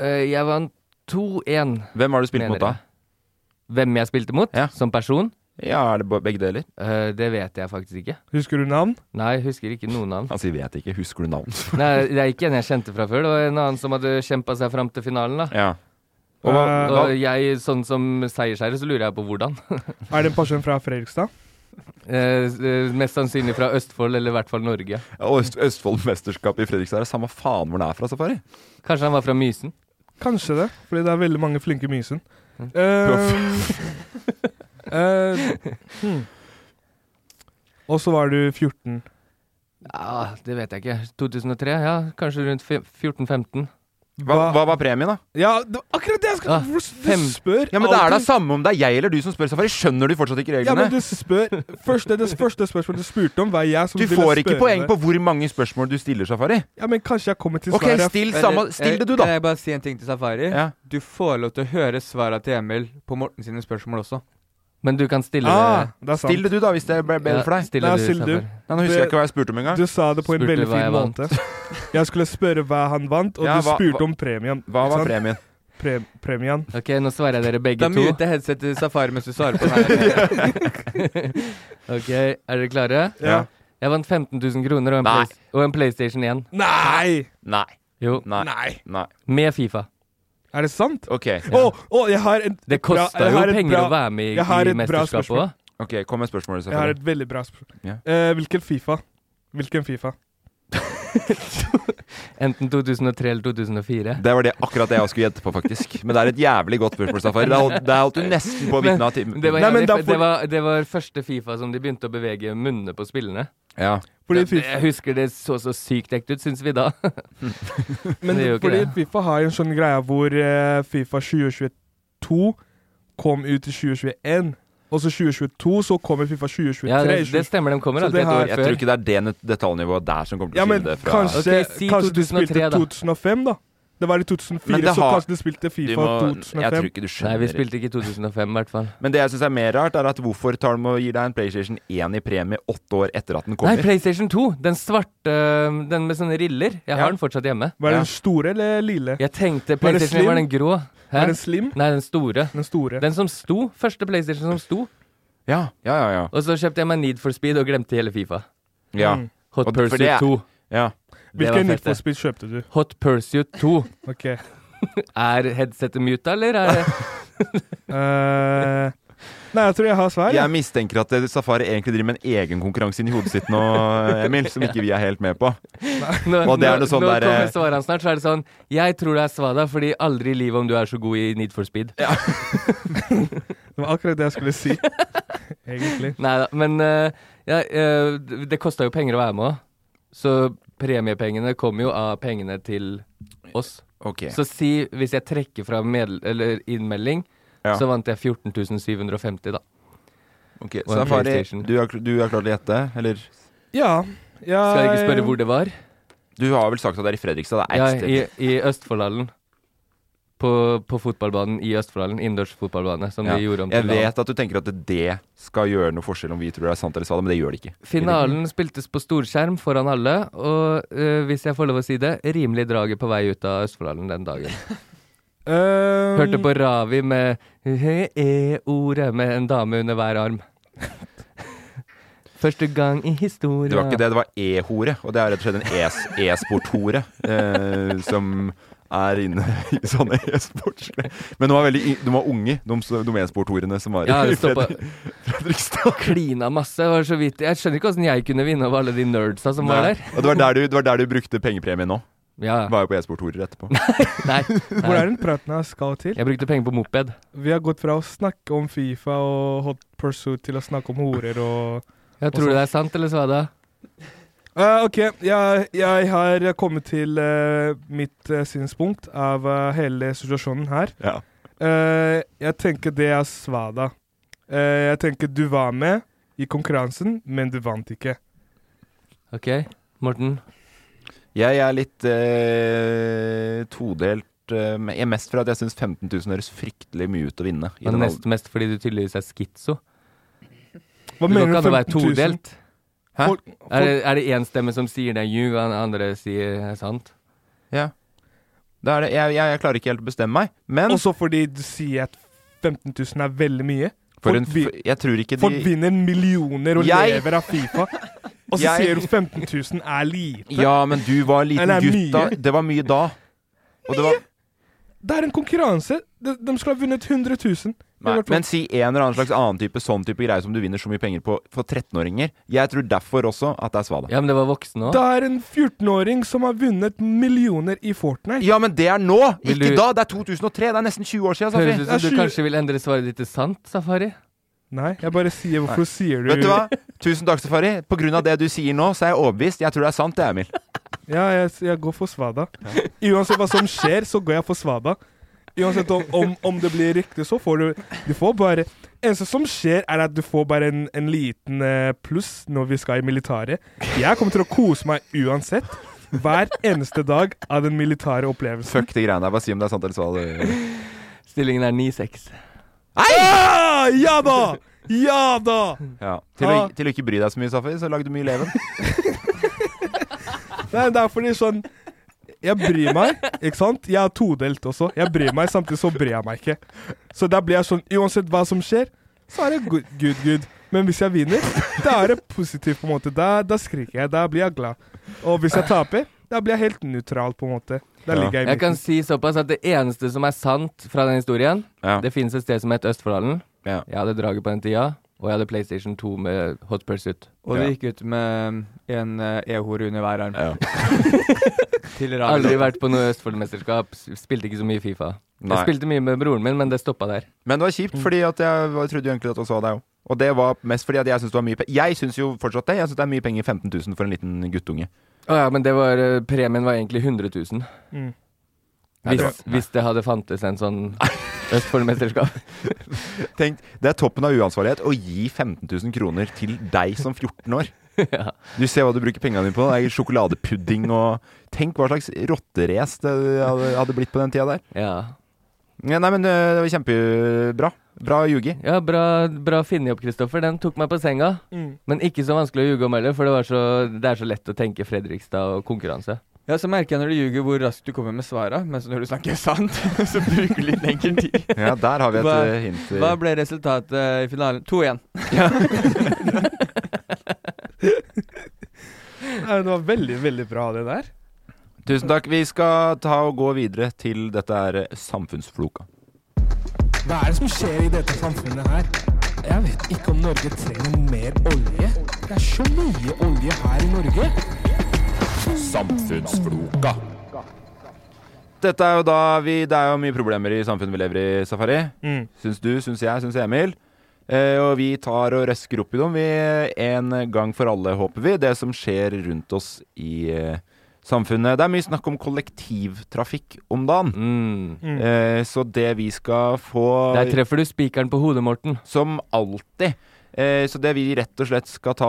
S3: Eh, Jeg vant 2-1,
S1: Hvem har du spilt
S3: mener
S1: mot da?
S3: jeg. Hvem jeg spilte mot
S1: Ja.
S3: som person?
S1: Ja, er det bo- begge deler?
S3: Eh, Det vet jeg faktisk ikke.
S2: Husker du navn?
S3: Nei, jeg husker ikke noen navn.
S1: Han sier Altså, 'vet ikke', husker du navn?
S3: Nei, det er ikke en jeg kjente fra før. Det var en annen som hadde kjempa seg fram til finalen, da.
S1: ja. Og hva,
S2: Eh,
S1: hva,
S3: Og jeg, sånn som seiersherre, så lurer jeg på hvordan.
S2: Er det en person fra Fredrikstad?
S3: Eh, eh, Mest sannsynlig fra Østfold, eller i hvert fall Norge.
S1: og Øst, Østfoldmesterskapet i Fredrikstad er samme faen hvor det er fra, Safari.
S3: Kanskje han var fra Mysen?
S2: Kanskje det, fordi det er veldig mange flinke i Mysen.
S3: Mm.
S2: Eh, eh, hmm. Og så var du 14.
S3: Ja, det vet jeg ikke. 2003? Ja, kanskje rundt fe- 14-15.
S1: Hva, hva var premien, da?
S2: Ja, det var akkurat det jeg skulle
S3: Ah,
S2: Hvor-
S3: fem.
S2: Du spør
S1: Ja, men Det er da
S2: alltid-
S1: samme om det er jeg eller du som spør, Safari. Skjønner du fortsatt ikke
S2: Ja, men
S1: reglene?
S2: du spør første, Det første spørsmålet du spurte om, var jeg som
S1: du
S2: ville
S1: får ikke
S2: spørre
S1: poeng
S2: deg.
S1: på hvor mange spørsmål du stiller, Safari.
S2: Ja, men kanskje jeg kommer til
S1: Ok,
S2: svaret
S1: still,
S6: Eller,
S1: samme, still
S6: eh,
S1: det, du, da.
S6: Kan jeg bare si en ting til
S3: eh,
S6: Safari?
S1: Ja.
S6: Du får lov til å høre svarene til Emil på Morten sine spørsmål også.
S3: Men du kan stille
S2: Ah, det er sant.
S1: Still det, du, da, hvis det ble bedre for
S3: Ja,
S1: deg.
S3: stille
S2: Nei,
S3: du,
S2: still du.
S3: Safar.
S1: Nei, nå husker jeg ikke hva jeg spurte om engang.
S2: Du sa det på en
S3: Spurte
S2: veldig
S3: hva
S2: fin
S3: jeg vant.
S2: måte. Jeg skulle spørre hva han vant, og
S1: Ja,
S2: du
S1: hva-
S2: spurte
S1: hva-
S2: om premien.
S1: Hva
S2: ikke
S1: var
S2: sant?
S1: premien?
S2: Pre premien.
S3: Ok, nå svarer jeg dere begge
S6: Da
S3: to.
S6: mute headsetet til Safari mens du svarer på den her.
S3: Ok, Er dere klare?
S2: Ja.
S3: Jeg vant 15 000 kroner og en,
S1: Nei.
S3: Play- og en PlayStation 1.
S2: Nei!
S1: Nei.
S3: Jo,
S1: Nei. Nei.
S3: Med Fifa.
S2: Er det sant?
S1: Ok,
S2: Å, å, jeg har en
S3: Det
S2: bra-
S3: kosta
S2: jeg
S3: jo
S2: har et
S3: penger
S2: bra-
S3: å være med i,
S2: jeg har
S3: i
S2: et bra
S3: mesterskapet
S2: spørsmål.
S3: òg.
S1: ok, kom med spørsmålet,
S2: Jeg har
S1: Safari.
S2: et veldig bra spørsmål.
S1: Ja.
S2: Eh, hvilken Fifa? Hvilken Fifa?
S3: Enten 2003 eller 2004.
S1: Det var det akkurat det jeg skulle gjette på, faktisk. Men det er et jævlig godt spørsmål, Safari. Det hol- det holdt du nesten på å vitne av timen.
S3: Det var,
S2: Mm. Nei, men
S3: jævlig-
S2: da får-
S3: det, var, det var første Fifa som de begynte å bevege munnene på spillerne.
S1: Ja.
S2: Fordi
S3: Det-
S2: FIFA,
S3: Jeg husker det så så sykt ekte ut, syns vi da.
S2: men
S3: det gjør ikke
S2: fordi
S3: det.
S2: FIFA har jo en sånn greie hvor eh, Fifa 2022 kom ut i 2021, og så 2022, så kommer Fifa 2023
S3: Ja, det,
S2: i
S3: det
S2: 2022.
S3: stemmer, de kommer
S2: Så
S3: alltid
S2: det
S3: et
S2: har-
S3: år
S1: Jeg
S3: før.
S1: tror ikke det er det net- detaljnivået der som kommer til
S2: Ja,
S1: å skille
S2: men
S1: det fra
S2: kanskje,
S3: Ok, si
S2: kanskje du
S3: 2003
S2: spilte
S3: da.
S2: 2005, da. Det var i 2004,
S1: Men det
S2: så
S1: har-
S2: kanskje du spilte
S1: Du
S2: Fifa
S1: må, jeg tror
S2: 2005.
S1: ikke du
S3: Nei,
S1: skjønner.
S3: vi spilte ikke i 2005 i hvert fall.
S1: Men det jeg syns er mer rart, er at hvorfor tar de og gir deg en PlayStation 1 i premie åtte år etter at
S3: Nei,
S1: den kommer?
S3: PlayStation 2! Den svarte, øh, den med sånne riller. Jeg har
S1: Ja.
S3: den fortsatt hjemme.
S2: Var det
S1: Ja.
S2: den store eller lille?
S3: Jeg tenkte
S2: Var det
S3: PlayStation var
S2: slim?
S3: den grå.
S2: Var den slim?
S3: Nei, den store.
S2: Den store. Mm.
S3: Den som sto. Første PlayStation som sto.
S1: ja, ja, ja, ja.
S3: Og så kjøpte jeg meg Need for Speed og glemte hele Fifa.
S1: ja.
S2: Mm.
S3: Hot
S1: Og d- for
S3: Pursuit
S1: det er-
S3: 2.
S1: ja.
S3: Det var
S2: Hvilken
S3: fett,
S2: Need for
S3: det.
S2: Speed kjøpte du?
S3: Hot Pursuit 2.
S2: Ok. Eh,
S3: Er headsetet muta, eller? Er det
S2: Eh, Nei, jeg tror jeg har svar.
S1: Jeg mistenker at eh, Safari egentlig driver med en egen konkurranse inni hodet sitt nå, eh, Emil, som ikke vi er helt med på.
S3: Nå,
S1: Og det
S3: nå-
S1: er noe sånn
S3: nå
S1: der, eh,
S3: kommer svaret hans snart, så er det sånn Jeg tror det er Svada, fordi aldri i livet om du er så god i Need for Speed.
S2: Det var akkurat det jeg skulle si. Egentlig.
S3: Nei da, men eh, ja, eh, d- det kosta jo penger å være med òg. Så premiepengene kommer jo av pengene til oss.
S1: Ok.
S3: Så si hvis jeg trekker fra medl eller innmelding,
S1: Ja.
S3: så vant jeg 14 750, da.
S1: Ok,
S3: Og en
S1: Safari,
S3: PlayStation.
S1: du har, du har klart å gjette, eller?
S2: Ja. ja
S3: Skal jeg ikke spørre hvor det var?
S1: Du har vel sagt at det er i Fredrikstad? Det er
S3: Ja,
S1: ett sted.
S3: i, i Østfoldhallen. På, på fotballbanen i Østfoldhallen. Innendørs fotballbane, som
S1: Ja.
S3: de gjorde om
S1: Jeg
S3: til LAN.
S1: vet at du tenker at det skal gjøre noe forskjell om vi tror det er sant eller svada, men det gjør det ikke.
S3: Finalen spiltes på storskjerm foran alle, og eh, hvis jeg får lov å si det, rimelig draget på vei ut av Østfoldhallen den dagen.
S2: Um,
S3: Hørte på Ravi med e-ordet med en dame under hver arm. Første gang i historien
S1: Det var ikke det, det var e-hore, og det er rett og slett en es- e-sport-hore eh, som er inne i sånne e-sportsgreier. Men de var, veldig, y- de var unge, de, s- de e-sport-horene som var
S3: Ja,
S1: i
S3: det stoppa
S1: Fredrik-
S3: Klina masse. det Var så vidt. Jeg skjønner ikke åssen jeg kunne vinne over alle de nerdsa som var
S1: Nei.
S3: der.
S1: Og det var der du, det var der du brukte pengepremien nå.
S3: Ja.
S1: Var jo på e-sport-horer etterpå.
S3: Nei.
S2: Hvor er den praten jeg skal til?
S3: Jeg brukte penger på moped.
S2: Vi har gått fra å snakke om Fifa og Hot Pursuit til å snakke om horer og
S3: Jeg tror
S2: og
S3: det
S2: sånn.
S3: er sant, eller Svada?
S2: Eh, OK, jeg, jeg har kommet til eh, mitt eh, synspunkt av eh, hele situasjonen her.
S1: Ja.
S2: Eh, jeg tenker det er Svada. Eh, jeg tenker du var med i konkurransen, men du vant ikke.
S3: OK. Morten?
S1: Jeg er litt eh, todelt. eh, men Jeg er mest for at jeg syns 15 000 høres fryktelig mye ut å vinne. i
S3: Og
S1: den
S3: nest mest fordi du tydeligvis er skitso.
S2: Hva
S3: du
S2: mener
S3: kan
S2: du
S3: ikke være
S2: 15 000?
S3: todelt.
S1: Hæ?
S2: Folk-
S3: Er det, er det én stemme som sier det er ljug, og den andre sier det er sant?
S1: Ja. Da er det, jeg, jeg, jeg klarer ikke helt å bestemme meg, men
S2: Også fordi du sier at 15 000 er veldig mye.
S1: for en,
S2: Folk
S1: f-
S2: vi-
S1: jeg tror ikke
S2: Folk
S1: de
S2: vinner millioner og
S1: Jeg-
S2: lever av Fifa. Og så
S1: Jeg-
S2: sier du 15 000 er lite.
S1: Ja, men du var liten
S2: Eller er
S1: gutt da.
S2: mye.
S1: Det var mye da. Og det var,
S2: Det er en konkurranse. De, de skulle ha vunnet 100 000. i
S1: nei,
S2: hvert fall.
S1: men si en eller annen slags annen type sånn type greie som du vinner så mye penger på for 13-åringer. Jeg tror derfor også at det er svada.
S3: Ja, men det var voksne òg.
S2: det er en 14-åring som har vunnet millioner i Fortnite.
S1: Ja, men det er nå!
S3: Vil
S1: Ikke
S3: du-
S1: da! Det er 2003! Det er nesten 20 år siden.
S3: Høres
S1: Safri.
S3: ut som
S2: Det er
S3: du
S2: sju-
S3: kanskje vil endre svaret ditt til sant, Safari.
S2: Nei, jeg bare sier Hvorfor sier du
S1: Vet du hva? Tusen takk, Safari. På grunn av det du sier nå, så er jeg overbevist. Jeg tror det er sant, det, Emil.
S2: Ja, jeg, jeg går for Svada. Uansett hva som skjer, så går jeg for Svada. Uansett om, om, om det blir riktig, så får du Du får bare eneste som skjer, er at du får bare en, en liten eh, pluss når vi skal i militæret. Jeg kommer til å kose meg uansett. Hver eneste dag av den militære opplevelsen.
S1: Fuck de greiene der. Bare si om det er sant eller svada.
S3: Stillingen er 9-6.
S2: Ah, ja da! Ja da!
S1: Ja. Til, å,
S2: Ah.
S1: til å ikke bry deg så mye, Safari, så lagde du mye leven.
S2: Nei, det er fordi sånn Jeg bryr meg, ikke sant? Jeg er todelt også. Jeg bryr meg, samtidig så bryr jeg meg ikke. Så da blir jeg sånn Uansett hva som skjer, så er det good, good, good. Men hvis jeg vinner, da er det positivt, på en måte. Da, da skriker jeg. Da blir jeg glad. Og hvis jeg taper, da blir jeg helt nøytral, på en måte. Da
S1: Ja.
S2: ligger jeg i
S3: Jeg kan
S2: midten.
S3: si såpass at det eneste som er sant fra den historien
S1: Ja.
S3: Det finnes et sted som heter Østfoldhallen.
S1: Ja.
S3: Jeg hadde draget på den tida, og jeg hadde PlayStation 2 med Hot Pursuit.
S6: Og du gikk ut med en eh, e-hore under hver arm. Til radio.
S3: Aldri vært på noe Østfoldmesterskap, s- spilte ikke så mye Fifa.
S1: Nei.
S3: Jeg spilte mye med broren min, men det stoppa der.
S1: Men det var kjipt, fordi at jeg var- trodde jo egentlig at du sa deg òg. Og det var mest fordi at jeg syns det var mye penger. Jeg syns jo fortsatt det. Jeg syns det er mye penger 15 000 for en liten guttunge.
S3: Å ja, men det var, eh, premien var egentlig 100 000.
S2: Mm.
S1: Nei, det
S3: Hvis, hvis det hadde fantes en sånn Østfoldmesterskap.
S1: Tenk, det er toppen av uansvarlighet å gi 15 000 kroner til deg som 14 år.
S3: ja.
S1: Du ser hva du bruker pengene dine på. Det er sjokoladepudding og Tenk hva slags rotterace det hadde, hadde blitt på den tida der.
S3: ja.
S1: Ja, nei, men øh, det var kjempebra. Bra ljugi.
S3: Ja, bra, bra funnet opp, Kristoffer. Den tok meg på senga.
S2: Mm.
S3: Men ikke så vanskelig å ljuge om heller, for det, var så, det er så lett å tenke Fredrikstad og konkurranse.
S6: Ja, så merker jeg når du ljuger hvor raskt du kommer med svara, mens når du snakker sant, så bruker du litt lengre tid.
S1: Ja, der har vi et
S6: Hva-
S1: øh, hint.
S6: Hva ble resultatet i finalen? 2-1.
S2: Nei, Det var veldig, veldig bra, det der.
S1: Tusen takk. Vi skal ta og gå videre til dette er øh, samfunnsfloka.
S4: Hva er det som skjer i dette samfunnet her? Jeg vet ikke om Norge trenger mer olje. Det er så mye olje her i Norge.
S1: Samfunnsfloka. Dette er jo da vi, Det er jo mye problemer i samfunnet vi lever i, Safari.
S2: Mm.
S1: Syns du, syns jeg, syns Emil. Eh, og vi tar og røsker opp i dem, vi. En gang for alle, håper vi. Det som skjer rundt oss i eh, samfunnet. Det er mye snakk om kollektivtrafikk om dagen.
S3: Mm.
S1: Eh, så det vi skal få
S3: Der treffer du spikeren på hodet, Morten.
S1: Som alltid. Eh, så det vi rett og slett skal ta,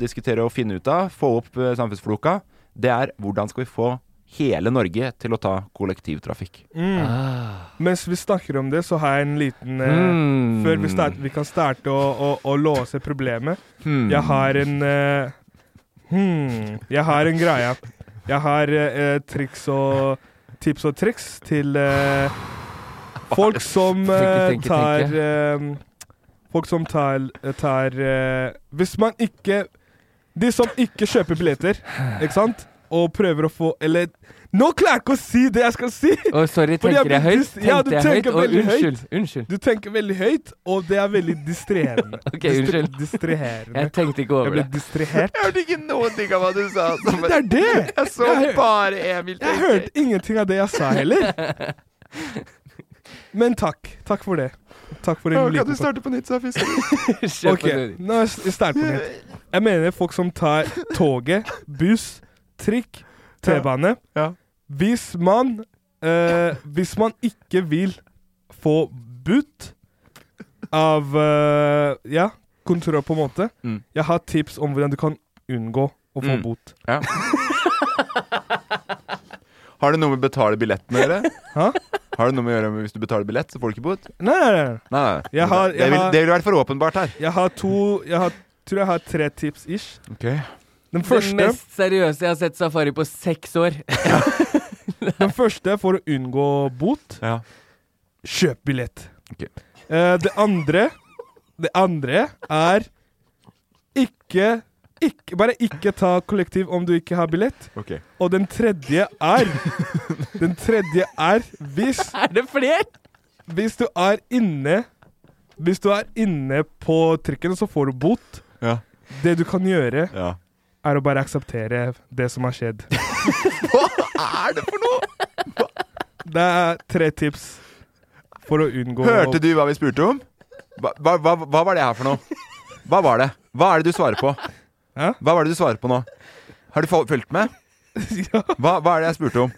S1: diskutere og finne ut av, få opp eh, samfunnsfloka, det er hvordan skal vi få hele Norge til å ta kollektivtrafikk.
S2: Mm. Mens vi snakker om det, så har jeg en liten eh,
S3: Mm.
S1: Hmm.
S2: Før vi, start, vi kan starte å, å, å låse problemet.
S1: Hmm.
S2: Jeg har en eh, hmm, Jeg har en greie. Jeg har eh, eh, triks og tips og triks til eh, folk som eh,
S3: Tenke, tenke,
S2: tar
S3: tenke.
S2: eh, Folk som tar, tar eh, Hvis man ikke De som ikke kjøper billetter, ikke sant? Og prøver å få Eller Nå klarer jeg ikke å si det jeg skal si!
S3: Å, sorry,
S2: Fordi jeg
S3: tenker jeg
S2: blir
S3: høyt?
S2: dist- ja, du
S3: Tenkte jeg høyt?
S2: tenker
S3: Å,
S2: veldig høyt.
S3: unnskyld. Unnskyld.
S2: Du tenker veldig høyt, og det er veldig distrerende.
S3: Ok, unnskyld.
S2: Distraherende.
S3: Jeg tenkte ikke over
S2: Jeg ble
S3: det.
S2: distrahert.
S1: Jeg hørte ikke noen ting av hva du sa.
S2: Det er det!
S1: Jeg så
S2: Jeg hø-
S1: bare Emil
S2: Jeg hørte ingenting av det jeg sa heller. Men takk. Takk for det. Takk for en liten
S1: på nytt, Safis?
S3: Kjør
S2: Ok,
S3: på nytt.
S2: nå er jeg start på nytt. Jeg mener folk som tar toget, buss, trikk, T-bane. Hvis man eh, Hvis man ikke vil få butt av eh, Ja, kontroll på en måte.
S1: Mm.
S2: Jeg har tips om hvordan du kan unngå å få
S1: Mm.
S2: bot.
S1: Ja. Har det noe med å betale billetten å gjøre?
S2: Hæ?
S1: Har det noe med å gjøre med hvis du betaler billett, så får du ikke bot?
S2: Nei, nei, nei.
S1: Nei, nei.
S2: Jeg har-
S1: det,
S2: jeg
S1: vil,
S2: har-
S1: det ville vært for åpenbart her.
S2: Jeg har to Jeg har, tror jeg har tre tips ish. Den
S3: Det
S2: første,
S3: mest seriøse jeg har sett Safari på seks år.
S2: den første for å unngå bot
S1: Ja.
S2: Kjøp billett.
S1: Ok.
S2: Eh, det andre Det andre er ikke, ikke Bare ikke ta kollektiv om du ikke har billett.
S1: Ok.
S2: Og den tredje er Den tredje er hvis
S3: Er det flere?
S2: Hvis du er inne Hvis du er inne på trikken, så får du bot.
S1: Ja.
S2: Det du kan gjøre,
S1: Ja.
S2: er å bare akseptere det som har skjedd.
S1: Hva er det for noe?!
S2: Det er tre tips for å unngå
S1: Hørte du hva vi spurte om? Hva, hva, hva, hva var det her for noe? Hva var det? Hva er det du svarer på?
S2: Hæ?
S1: Hva var det du svarer på nå? Har du fol- fulgt med?
S2: Ja,
S1: Hva, hva er det jeg spurte om?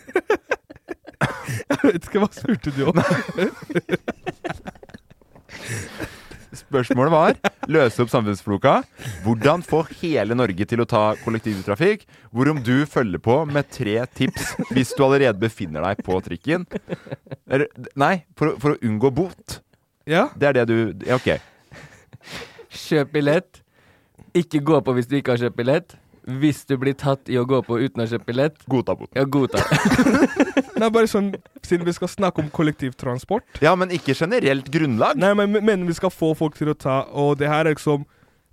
S2: jeg vet ikke hva spurte du om?
S1: Spørsmålet var løse opp samfunnsfloka. Hvordan få hele Norge til å ta kollektivtrafikk? Hvorom du følger på med tre tips hvis du allerede befinner deg på trikken. Eller, nei, for, å- for å unngå bot.
S2: Ja?
S1: Det er det du ja, OK.
S3: Kjøp billett. Ikke gå på hvis du ikke har kjøpt billett. Hvis du blir tatt i å gå på uten å ha kjøpt billett,
S1: Godta bot.
S3: ja, godta.
S2: Nei, bare sånn, Siden vi skal snakke om kollektivtransport
S1: Ja, men ikke generelt grunnlag.
S2: Nei, men, men vi skal få folk til å ta Og det her er liksom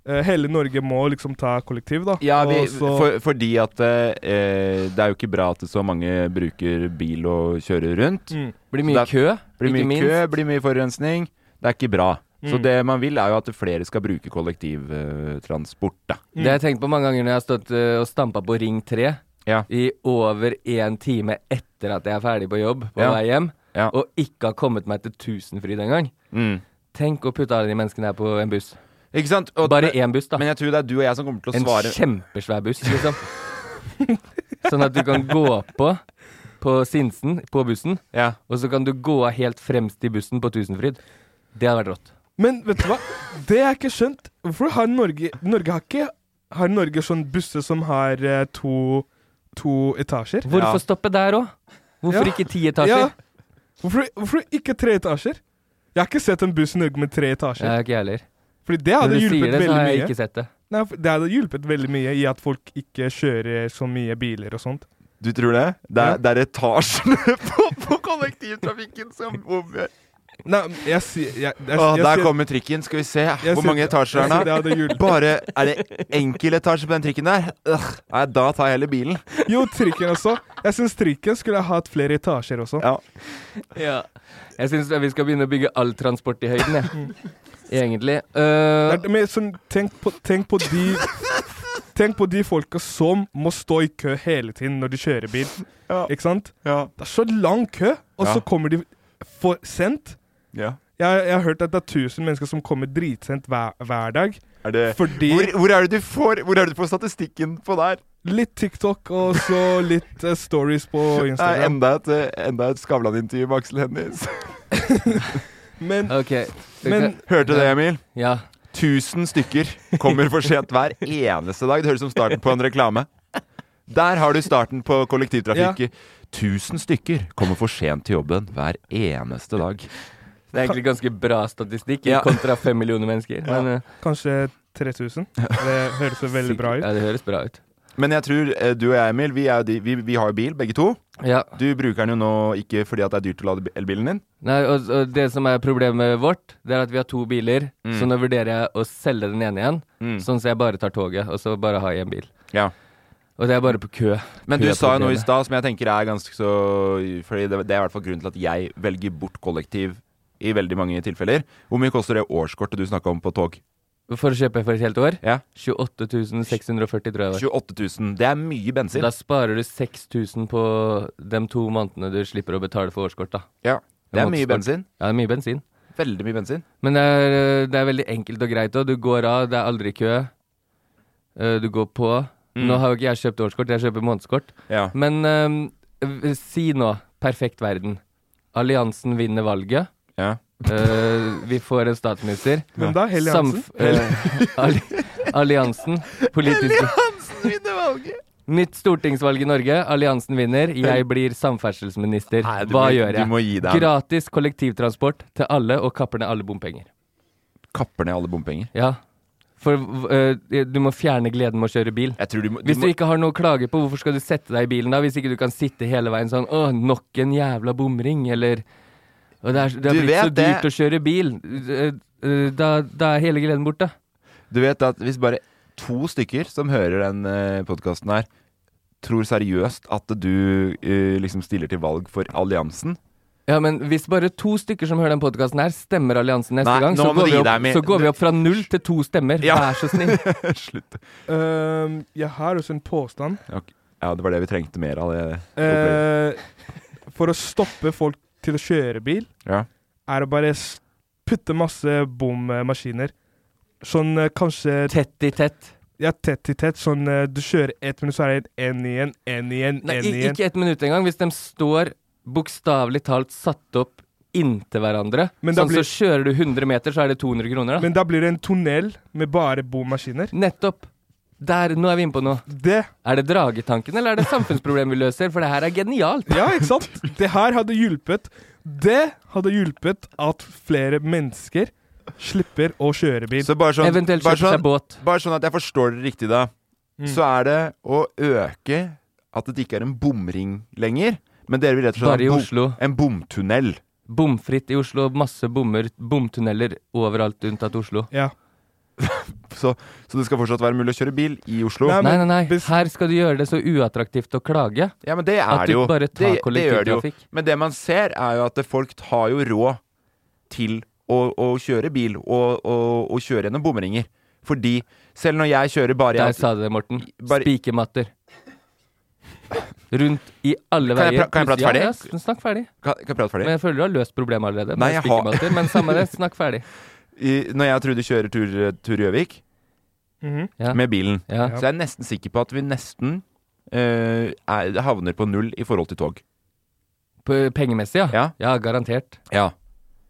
S2: eh, Hele Norge må liksom ta kollektiv, da.
S1: Ja, vi,
S2: Og så,
S1: for, fordi at eh, det er jo ikke bra at så mange bruker bil og kjører rundt.
S2: mm,
S3: Blir
S1: Så
S3: mye
S1: det
S3: kø.
S1: Blir
S3: ikke
S1: mye
S3: minst.
S1: kø, blir mye forurensning. Det er ikke bra. Så
S2: Mm.
S1: det man vil, er jo at flere skal bruke kollektivtransport, da.
S3: Det har jeg tenkt på mange ganger når jeg har stått eh, og stampa på Ring 3
S1: Ja.
S3: i over én time etter at jeg er ferdig på jobb på
S1: Ja.
S3: vei hjem,
S1: Ja.
S3: og ikke har kommet meg til Tusenfryd engang.
S1: Mm.
S3: Tenk å putte alle de menneskene her på en buss.
S1: Ikke sant? Og-
S3: Bare én buss, da.
S1: Men jeg tror det er du og jeg som kommer til å
S3: En
S1: svare
S3: kjempesvær buss, liksom. sånn at du kan gå på på Sinsen, på bussen,
S1: ja.
S3: og så kan du gå helt fremst i bussen på Tusenfryd. Det hadde vært rått.
S2: Men vet du hva? Det jeg ikke skjønt Hvorfor har Norge Norge har ikke Har Norge sånn busser som har eh, to To etasjer?
S3: Hvorfor
S1: Ja.
S3: stoppe der òg? Hvorfor
S2: Ja.
S3: ikke ti etasjer?
S2: Hvorfor, hvorfor ikke tre etasjer? Jeg har ikke sett en buss i Norge med tre
S3: Jeg
S2: etasjer.
S3: er Eh, ikke jeg heller.
S2: Fordi det
S3: Når
S2: hadde
S3: du sier
S2: hjulpet
S3: det, så
S2: veldig
S3: har jeg
S2: mye.
S3: ikke sett det.
S2: Nei, for det hadde hjulpet veldig mye i at folk ikke kjører så mye biler og sånt.
S1: Du tror det? Det
S2: Ja.
S1: er, det er etasjene på, på kollektivtrafikken som bommer.
S2: Nei, jeg sier jeg, jeg,
S1: Å,
S2: jeg
S1: der
S2: sier-
S1: kommer trikken. Skal vi se.
S2: jeg
S1: Hvor
S2: sier-
S1: mange etasjer
S2: jeg
S1: er den?
S2: sier
S1: da?
S2: det hadde hjulpet.
S1: Bare Er det enkel etasje på den trikken der? Øh, nei, da tar jeg heller bilen.
S2: Jo, trikken også. Jeg syns trikken skulle ha hatt flere etasjer også.
S1: Ja.
S3: Jeg syns vi skal begynne å bygge all transport i høyden, jeg. Egentlig. Øh,
S2: Det er- men sånn, tenk, på, tenk på de Tenk på de folka som må stå i kø hele tiden når de kjører bil. Ikke sant? Det er så lang kø, og
S1: Ja.
S2: så kommer de for sent.
S1: Ja.
S2: Jeg, jeg har hørt at det er 1000 mennesker som kommer dritsent hver, hver dag. fordi
S1: Eh, Hvor- hvor er det du får- hvor er det du får statistikken på der?
S2: Litt TikTok og så litt eh, stories på
S1: Nei,
S2: Instagram.
S1: enda et, eh, enda et Skavlan-intervju med Aksel Hennies.
S2: Men,
S3: Ok.
S1: men Hørte du det, Emil?
S3: Ja.
S1: 1000 stykker kommer for sent hver eneste dag. Det høres ut som starten på en reklame. Der har du starten på kollektivtrafikk. 1000 stykker kommer for sent til jobben hver eneste dag.
S3: det er egentlig ganske bra statistikk
S1: Ja.
S3: kontra fem millioner mennesker. Men, øh,
S2: Kanskje 3000? Det høres jo veldig bra ut.
S3: ja, det høres bra ut.
S1: Men jeg tror eh, du og jeg, Emil, vi, er jo de, vi, vi har jo bil, begge to.
S3: Ja.
S1: Du bruker den jo nå ikke fordi at det er dyrt å lade bi- elbilen din.
S3: Nei, og, og det som er problemet vårt, det er at vi har to biler,
S1: Mm.
S3: så nå vurderer jeg å selge den ene igjen,
S1: Mm.
S3: sånn at jeg bare tar toget, og så bare har jeg en bil.
S1: Ja.
S3: Og det er bare på kø.
S1: Men du
S3: Kø er
S1: sa jo noe i
S3: problemet.
S1: stad som jeg tenker er ganske så Fordi det, det er i hvert fall grunnen til at jeg velger bort kollektiv i veldig mange tilfeller. Hvor mye koster det årskortet du snakka om på tog?
S3: For å kjøpe for et helt år?
S1: Ja.
S3: 28 640, tror jeg det var.
S1: 28 000. Det er mye bensin.
S3: Da sparer du 6000 på de to månedene du slipper å betale for årskort, da.
S1: Ja. Det
S3: En
S1: er mye
S3: månedskort.
S1: bensin.
S3: Ja, det er mye bensin.
S1: Veldig mye bensin.
S3: Men det er, øh, det er veldig enkelt og greit òg. Du går av, det er aldri kø. Øh, Du går på.
S1: Mm.
S3: Nå har jo ikke jeg kjøpt årskort, jeg kjøper månedskort.
S1: Ja.
S3: Men øhm, si nå, perfekt verden. Alliansen vinner valget.
S1: Ja.
S3: Øh, vi får en statsminister.
S2: Hvem da? Helly Hansen?
S3: Samf- øh, alli alliansen. Politiske Nytt stortingsvalg i Norge. Alliansen vinner. Jeg blir samferdselsminister.
S1: Nei, du
S3: Hva
S1: må-
S3: gjør jeg?
S1: du må gi deg.
S3: Gratis kollektivtransport til alle, og kapper ned alle bompenger.
S1: Kapper ned alle bompenger.
S3: Ja. For øh, du må fjerne gleden med å kjøre bil.
S1: Jeg tror du må, du
S3: Hvis du
S1: må
S3: ikke har noe å klage på, hvorfor skal du sette deg i bilen da? Hvis ikke du kan sitte hele veien sånn Å, nok en jævla bomring, eller Og det, er, det har
S1: Du
S3: blitt så
S1: vet det.
S3: dyrt å kjøre bil. Eh, eh, Da, da er hele gleden borte.
S1: Du vet at hvis bare to stykker som hører den eh, podkasten her, tror seriøst at du eh, liksom stiller til valg for alliansen
S3: Ja, men hvis bare to stykker som hører den podkasten her, stemmer alliansen neste
S1: Nei,
S3: gang, så
S1: nå må
S3: går,
S1: du
S3: vi
S1: gi
S3: opp,
S1: deg, Emil.
S3: så går vi opp fra null til to stemmer.
S1: Ja.
S3: Vær så snill.
S1: Slutt.
S2: Øhm, ehm, jeg har også en påstand.
S1: Ja, det var det vi trengte mer av. det opplegget.
S2: Eh, for å stoppe folk til å kjøre bil,
S1: Ja.
S2: er å bare s- putte masse bommaskiner. Sånn eh, kanskje
S3: Tett i tett.
S2: Ja, tett i tett. Sånn eh, du kjører ett minutt, så er det én igjen, én igjen,
S3: Nei,
S2: én
S3: i-
S2: igjen.
S3: ikke ett minutt engang. Hvis de står bokstavelig talt satt opp inntil hverandre,
S2: Men da
S3: sånn
S2: blir-
S3: så kjører du 100 meter, så er det 200 kroner, da.
S2: Men da blir det en tunnel med bare bommaskiner.
S3: Nettopp. Der, nå er vi inne på noe.
S2: Det
S3: Er det dragetanken, eller er det samfunnsproblem vi løser? For det her er genialt.
S2: Ja, ikke sant? Det her hadde hjulpet. Det hadde hjulpet at flere mennesker slipper å kjøre bil.
S1: Så bare sånn,
S3: Eventuelt
S1: bare,
S3: kjøpe seg
S1: sånn,
S3: båt.
S1: bare sånn at jeg forstår det riktig, da. Så er det å øke at det ikke er en bomring lenger. Men dere vil rett og slett
S3: Bare i
S1: ha en,
S3: Oslo.
S1: bom, en bomtunnel.
S3: Bomfritt i Oslo. Masse bommer. Bomtunneler overalt unntatt Oslo.
S2: Ja.
S1: Så, så det skal fortsatt være mulig å kjøre bil i Oslo.
S2: Nei, men-
S3: Nei, nei, nei.
S2: hvis-
S3: Her skal du gjøre det så uattraktivt å klage.
S1: ja, men det er
S3: At
S1: det
S3: du
S1: jo.
S3: bare
S1: det,
S3: tar
S1: det gjør det jo.
S3: kollektivtrafikk.
S1: Men det man ser, er jo at det- folk har jo råd til å, å kjøre bil og, og, og kjøre gjennom bomringer. Fordi selv når jeg kjører bare
S3: Der sa du det, Morten.
S1: Bare-
S3: Spikermatter. Rundt i alle
S1: Kan jeg
S3: veier.
S1: pra- kan jeg prate
S3: Ja,
S1: ferdig?
S3: Ja, sn- snakk ferdig.
S1: Kan, kan jeg prate ferdig?
S3: Men jeg føler du har løst problemet allerede.
S1: Nei,
S3: Med
S1: jeg har-
S3: spikermatter, Men samme det, snakk ferdig.
S1: I, når jeg og Trude kjører tur, tur Gjøvik
S2: Mhm.
S3: Ja.
S1: med bilen,
S3: Ja.
S1: så jeg er nesten sikker på at vi nesten eh, er, havner på null i forhold til tog.
S3: P- Pengemessig, ja.
S1: Ja.
S3: Ja, garantert.
S1: Ja.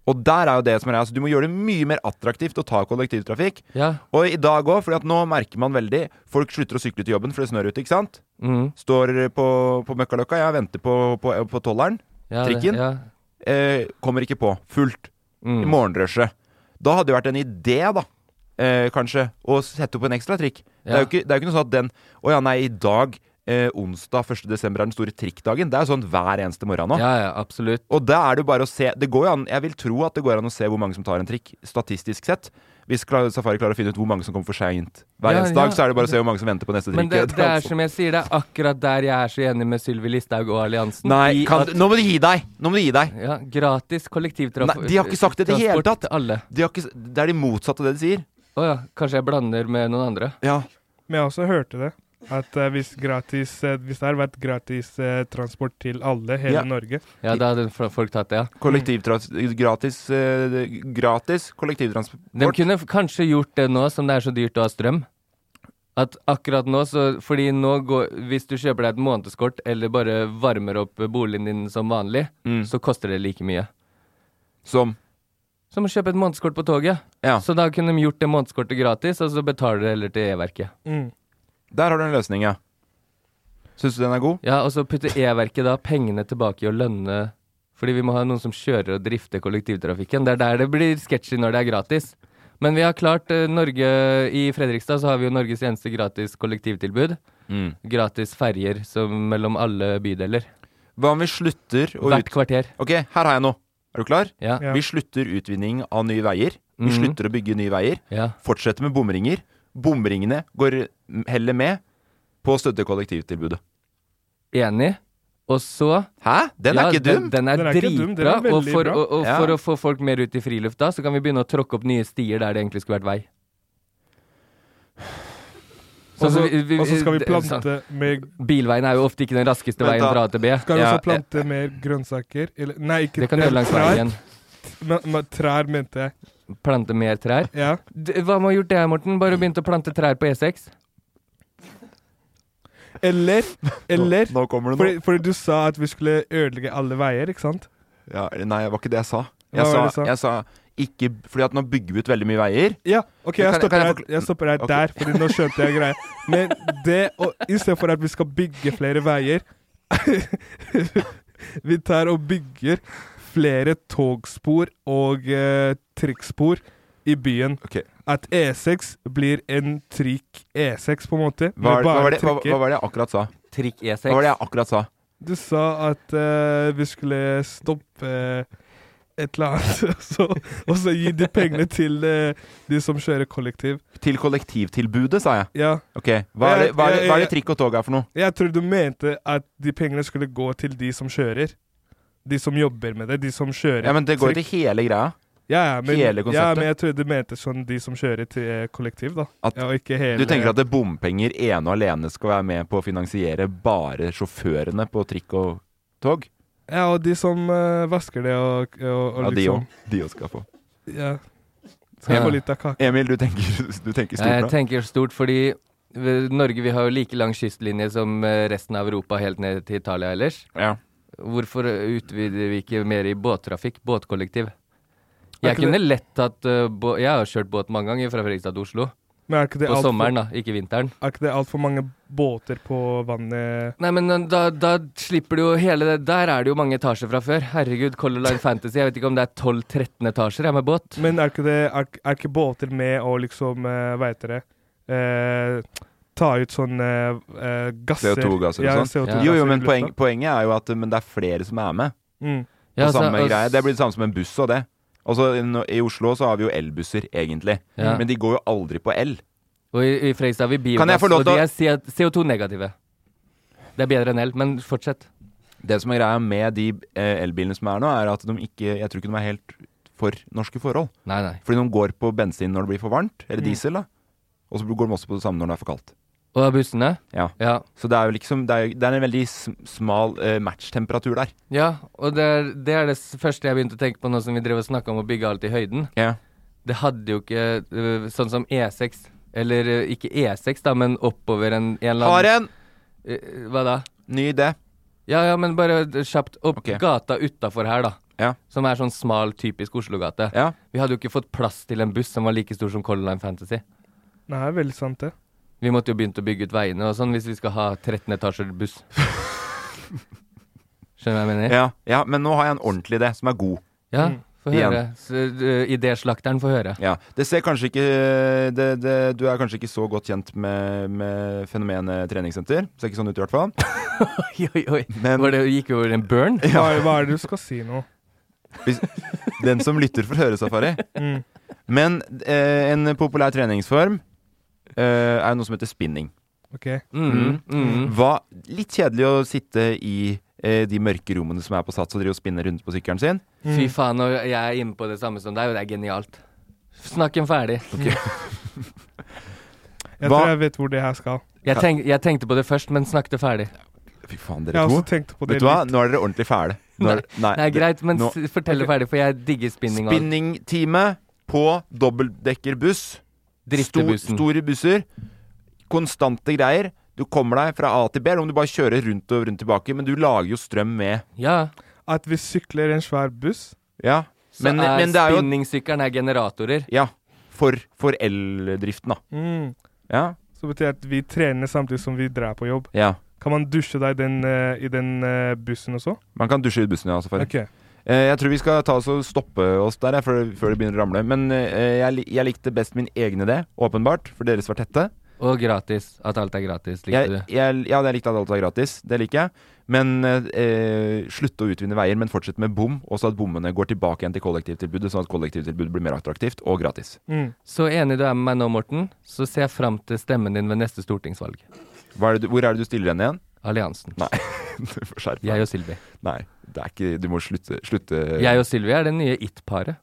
S1: Og der er jo det som er altså, Du må gjøre det mye mer attraktivt å ta kollektivtrafikk.
S3: Ja.
S1: Og i dag òg, for nå merker man veldig Folk slutter å sykle til jobben, for det snør ute, ikke sant?
S3: Mm.
S1: Står på, på Møkkaløkka, jeg venter på, på, på tolleren.
S3: ja det-
S1: Trikken?
S3: Ja.
S1: Eh, kommer ikke på. Fullt. I
S3: Mm.
S1: morgenrushet. Da hadde det vært en idé, da. Eh, kanskje. Å sette opp en ekstra trikk. Det, er
S3: Ja.
S1: jo ikke, det er jo ikke noe sånn at den Å ja, nei, i dag, eh, onsdag 1. desember, er den store trikkdagen. Det er jo sånn hver eneste morgen nå.
S3: Ja, ja, absolutt.
S1: Og da er det jo bare å se Det går jo an Jeg vil tro at det går an å se hvor mange som tar en trikk, statistisk sett. Hvis klar- Safari klarer å finne ut hvor mange som kommer for seint hver
S3: Ja,
S1: eneste
S3: ja.
S1: dag, så er det bare å se hvor mange som venter på neste
S3: Men
S1: drink.
S3: det, det er som jeg sier, det er akkurat der jeg er så enig med Sylvi Listhaug og alliansen.
S1: Nei,
S3: i
S1: kan,
S3: at-
S1: nå må du gi deg! Nå må du gi deg!
S3: Ja, gratis kollektivtransport
S1: Nei, de har ikke sagt det i det hele tatt.
S3: Alle.
S1: De har ikke, s- det er de motsatte av det de sier.
S3: Å ja, kanskje jeg blander med noen andre.
S1: Ja.
S2: Men jeg også hørte det. At eh, hvis, gratis, eh, hvis det har vært gratis eh, transport til alle, hele
S1: Ja.
S2: Norge
S3: Ja, da hadde fo- folk tatt det, ja.
S1: Kollektivtrans gratis, eh, gratis kollektivtransport.
S3: De kunne f- kanskje gjort det nå som det er så dyrt å ha strøm. At akkurat nå, så Fordi nå går Hvis du kjøper deg et månedskort eller bare varmer opp boligen din som vanlig,
S1: Mm.
S3: så koster det like mye.
S1: Som?
S3: Som å kjøpe et månedskort på toget. Så da kunne de gjort det månedskortet gratis, og så betaler du heller til E-verket.
S1: Der har du en løsning, ja. Syns du den er god?
S3: Ja, og så putter E-verket da pengene tilbake i å lønne Fordi vi må ha noen som kjører og drifter kollektivtrafikken. Det er der det blir sketchy når det er gratis. Men vi har klart eh, Norge I Fredrikstad så har vi jo Norges eneste gratis kollektivtilbud.
S1: Mm.
S3: Gratis ferjer som- mellom alle bydeler.
S1: Hva om vi slutter å
S3: Hvert kvarter.
S1: Ok, her har jeg noe. Er du klar?
S3: Ja. Ja.
S1: Vi slutter utvinning av nye veier. Vi
S3: Mhm.
S1: slutter å bygge nye veier.
S3: Ja.
S1: Fortsetter med bomringer. Bomringene går heller med på å støtte kollektivtilbudet.
S3: Enig. Og så
S1: Hæ? Den er
S3: Ja,
S1: ikke dum!
S3: Den, den er,
S2: Den er ikke dum, den
S3: dritbra.
S2: er veldig
S3: og for,
S2: bra.
S3: og, og
S1: Ja.
S3: for å få folk mer ut i friluft da, så kan vi begynne å tråkke opp nye stier der det egentlig skulle vært vei. Sånn
S2: Og så-
S3: som vi- vi-
S2: og så skal vi
S3: det-
S2: plante
S3: sånn-
S2: mer-
S3: Bilveien er jo ofte ikke den raskeste
S2: Vent
S3: veien
S2: da.
S3: fra A til B.
S2: Skal vi
S3: Ja,
S2: også plante mer grønnsaker? Eller, nei, ikke
S3: Det kan du gjøre langs
S2: trær.
S3: veien.
S2: Men- men Trær, mente jeg.
S3: eh, Plante mer trær.
S2: Ja.
S3: D- Hva med å ha gjort det her, Morten? Bare begynt å plante trær på E E6?
S2: Eller, eller
S1: Nå kommer det noe.
S2: fordi, fordi du sa at vi skulle ødelegge alle veier, ikke sant?
S1: Ja, eller nei, det var ikke det jeg sa.
S2: Hva
S1: Jeg,
S2: var
S1: sa,
S2: det du sa?
S1: jeg sa ikke Fordi at nå bygger vi ut veldig mye veier.
S2: Ja, OK, jeg
S1: Men kan- kan
S2: stopper
S1: jeg
S2: deg
S1: forkl-
S2: jeg stopper deg
S1: Ok.
S2: der, fordi nå skjønte jeg greia. Men det å Istedenfor at vi skal bygge flere veier Vi tar og bygger flere togspor og eh, trikkspor i byen.
S1: Ok.
S2: At E6 blir en trikk E6, på en måte. med
S1: Hva, hva,
S2: bare
S1: var det, hva,
S2: trikker.
S1: hva var det jeg akkurat sa?
S3: Trikk E6.
S1: Hva var det jeg akkurat sa?
S2: Du sa at eh, vi skulle stoppe eh, et eller annet, og så- og så gi de pengene til eh, de som kjører kollektiv.
S1: Til kollektivtilbudet, sa jeg.
S2: Ja.
S1: Ok, Hva er det, hva er det, hva er det trikk og tog er for noe?
S2: Jeg tror du mente at de pengene skulle gå til de som kjører. De som jobber med det, de som kjører.
S1: Ja, men Det går jo
S2: trikk.
S1: til hele greia.
S2: ja, ja, men,
S1: hele
S2: Ja,
S1: konseptet.
S2: men jeg trodde du mente sånn de som kjører til eh, kollektiv, da.
S1: At
S2: ja, og ikke hele,
S1: Du tenker at det bompenger ene og alene skal være med på å finansiere bare sjåførene på trikk og tog?
S2: Ja, og de som eh, vasker det og, og, og
S1: Ja, de
S2: liksom
S1: òg. De òg skal få.
S2: Ja. Skal jeg få litt av kaka?
S1: Emil, du tenker, du
S3: Ja,
S1: tenker stort
S3: Jeg
S1: nå?
S3: tenker stort fordi vi- Norge vi har jo like lang kystlinje som eh, resten av Europa helt ned til Italia ellers. Hvorfor eh, utvider vi ikke mer i båttrafikk? Båtkollektiv. Jeg
S2: Er ikke
S3: kunne lett tatt eh, bå Jeg har kjørt båt mange ganger fra Fredrikstad til Oslo.
S2: Men er ikke det
S3: På
S2: alt for-
S3: sommeren, da. Ikke vinteren.
S2: Er ikke det altfor mange båter på vannet
S3: Nei, men eh, da, da slipper du jo hele det Der er det jo mange etasjer fra før. Herregud, Color Line Fantasy. Jeg vet ikke om det er 12-13 etasjer jeg med båt.
S2: Men er ikke, det, er, er ikke båter med å liksom, eh, hva heter det eh, Ta ut sånne eh, gasser
S1: CO2-gasser
S2: Ja,
S1: og sånn?
S2: CO2
S1: Jo, jo,
S2: i
S1: men
S2: lufta.
S1: poeng, poenget er jo at men det er flere som er med.
S2: Mm.
S1: På
S3: Ja, altså, så-
S1: samme
S3: og-
S1: greie. Det blir det samme som en buss og det. Altså, i no- I Oslo så har vi jo elbusser, egentlig.
S3: Ja.
S1: Men de går jo aldri på el.
S3: Og i, i Fredrikstad har vi
S1: Kan jeg
S3: biogass,
S1: få lov
S3: og de
S1: til å-
S3: er CO- CO2-negative. Det er bedre enn el, men fortsett.
S1: Det som er greia med de eh, elbilene som er nå, er at de ikke Jeg tror ikke de er helt for norske forhold.
S3: Nei, nei.
S1: Fordi de går på bensin når det blir for varmt, eller
S3: Mm.
S1: diesel, da. Og så går de også på det samme når det er for kaldt.
S3: Og bussene?
S1: Ja.
S3: Ja.
S1: Så det er jo liksom Det er, jo- det er en veldig sm- smal eh, matchtemperatur der.
S3: Ja, og det er, det er det s- første jeg begynte å tenke på nå som vi drev og snakka om å bygge alt i høyden.
S1: Ja.
S3: Det hadde jo ikke øh, sånn som E6, eller øh, ikke E6, da, men oppover en, en eller
S1: Har en!
S3: Øh, Hva da?
S1: Ny idé.
S3: Ja, ja, men bare d- kjapt opp
S1: Ok.
S3: gata utafor her, da.
S1: Ja.
S3: Som er sånn smal, typisk Oslo-gate.
S1: Ja.
S3: Vi hadde jo ikke fått plass til en buss som var like stor som Color Line Fantasy.
S2: Nei, det er veldig sant, det.
S3: Vi måtte jo begynt å bygge ut veiene og sånn hvis vi skal ha 13 etasjer buss. Skjønner du hva jeg mener?
S1: Ja, ja, men nå har jeg en ordentlig idé som er god.
S3: Ja, få
S1: Igjen.
S3: høre. Så, øh, Idéslakteren får høre.
S1: Ja, det ser kanskje ikke det, det, Du er kanskje ikke så godt kjent med, med fenomenet treningssenter. Ser ikke sånn ut i hvert fall.
S3: Oi, oi, oi.
S1: Men-
S3: Var det, gikk over en burn?
S1: Mm.
S2: Hva, hva er det du skal si nå?
S1: Hvis, den som lytter, får høre, Safari.
S2: Mm.
S1: Men eh, en populær treningsform eh, er noe som heter spinning.
S2: Ok.
S1: Mm.
S2: Mhm.
S1: Hva, litt kjedelig å sitte i eh, de mørke rommene som er på Sats og drive og spinne rundt på sykkelen sin.
S3: Fy faen, og jeg er inne på det samme som deg, og det er genialt. Snakken ferdig.
S2: Jeg
S3: Hva-
S2: tror jeg vet hvor det her skal.
S3: Jeg, tenk, jeg tenkte på det først, men snakket ferdig.
S1: Fy faen,
S2: Jeg
S1: dere
S2: har
S1: to.
S2: også tenkt på altså, det
S1: Vet du hva,
S2: litt.
S1: nå er dere ordentlig fæle. Nå
S3: Nei,
S1: er-
S3: nei,
S1: det-
S3: greit, men
S1: nå-
S3: s- fortell det ferdig, for jeg digger spinning. og alt.
S1: Spinningtime på dobbeltdekkerbuss.
S3: Drifter bussen.
S1: store busser. Konstante greier. Du kommer deg fra A til B, eller om du bare kjører rundt og rundt tilbake, men du lager jo strøm med.
S2: At vi sykler en svær buss.
S1: Ja.
S3: Så er spinningsykkelen er generatorer.
S1: Ja. For, for eldriften, da.
S2: Mm.
S1: Ja.
S2: Så betyr det at vi trener samtidig som vi drar på jobb.
S1: Ja.
S2: Kan man dusje da i den, eh, i den eh, bussen også?
S1: Man kan dusje i bussen, ja. Safari.
S2: Ok.
S1: Eh, jeg tror vi skal ta oss og stoppe oss der jeg, før, før det begynner å ramle. Men eh, jeg, li- jeg likte best min egen idé, åpenbart, for deres var tette.
S3: Og gratis. At alt er gratis. Likte
S1: Jeg, jeg, ja, jeg likte at alt var gratis. Det liker jeg. Men eh, eh, slutt å utvinne veier, men fortsett med bom. Og så at bommene går tilbake igjen til kollektivtilbudet, sånn at kollektivtilbudet blir mer attraktivt og gratis.
S2: Mm.
S3: Så enig du er med meg nå, Morten, så ser jeg fram til stemmen din ved neste stortingsvalg.
S1: Hva er det, du- hvor er det du stiller henne igjen?
S3: Alliansen.
S1: Nei, du får skjerpe
S3: Jeg og Sylvi.
S1: Nei, det er ikke Du må slutte. slutte.
S3: Jeg og Sylvi er det nye it-paret.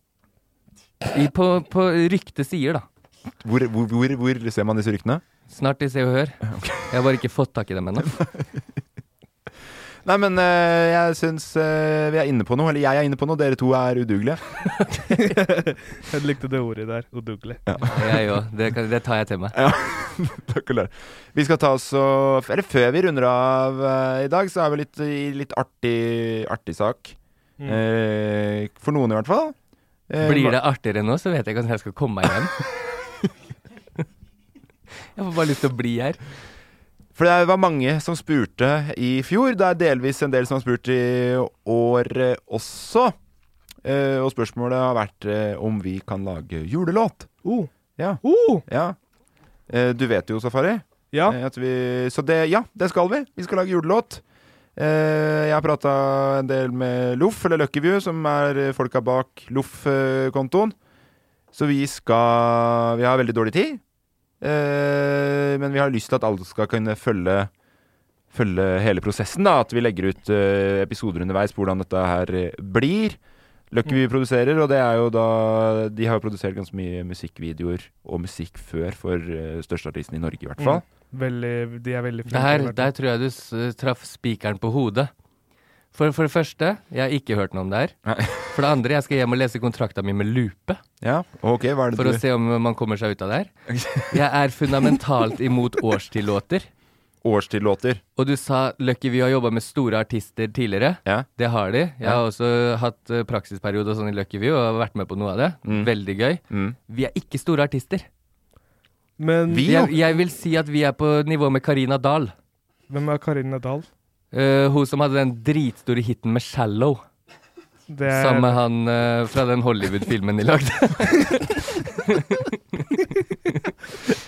S3: I- På, på ryktet sier, da.
S1: Hvor, hvor, hvor, hvor ser man disse ryktene?
S3: Snart i Se og Hør. Jeg har bare ikke fått tak i dem ennå.
S1: Nei, men eh, jeg syns eh, vi er inne på noe. Eller jeg er inne på noe, dere to er udugelige.
S2: Jeg likte det ordet der. Udugelig.
S3: Jeg òg. Det, kan- det tar jeg til meg.
S1: Ja, takk og lov. Vi skal ta oss og Eller før vi runder av eh, i dag, så er vi litt i litt artig, artig sak.
S3: Mm.
S1: Eh, for noen, i hvert fall. Eh,
S3: Blir
S1: ma-
S3: det artigere nå, så vet jeg ikke hvordan jeg skal komme meg hjem. jeg får bare lyst til å bli her.
S1: For det var mange som spurte i fjor. Det er delvis en del som har spurt i år eh, også. Eh, og spørsmålet har vært eh, om vi kan lage julelåt. Ja. ja. Eh, du vet jo, Safari.
S2: Oh! Ja.
S1: Eh, at vi, så det, ja, det skal vi. Vi skal lage julelåt. Eh, jeg har prata en del med Loff, eller Luckyview, som er eh, folka bak Loff-kontoen. Så vi skal Vi har veldig dårlig tid. Eh, men vi har lyst til at alle skal kunne følge Følge hele prosessen. da At vi legger ut eh, episoder underveis på hvordan dette her eh, blir. Lucky vi produserer, og det er jo da De har jo produsert ganske mye musikkvideoer og musikk før for eh, største artisten i Norge, i hvert fall.
S2: Veldig, de er veldig flinke.
S3: Der,
S2: til å være-
S3: der tror jeg du s- eh, traff spikeren på hodet. For, for det første, jeg har ikke hørt noe om det her. For det andre, jeg skal hjem og lese kontrakta mi med lupe.
S1: Ja, ok, hva er det
S3: For
S1: du-
S3: å se om man kommer seg ut av det her. Jeg er fundamentalt imot årstidlåter.
S1: Årstidlåter.
S3: Og du sa Lucky vi har jobba med store artister tidligere. Det har de. Jeg har også hatt eh, praksisperiode og sånn i Lucky View og har vært med på noe av det.
S1: Mm.
S3: Veldig gøy.
S1: Mm.
S3: Vi er ikke store artister.
S2: Men
S1: Vi,
S3: jeg, jeg vil si at vi er på nivå med Karina Dahl.
S2: Hvem er Karina Dahl?
S3: Eh, hun som hadde den dritstore hiten med 'Shallow'.
S2: Det er-
S3: Sammen med han eh, fra den Hollywood-filmen de lagde.
S2: Eh,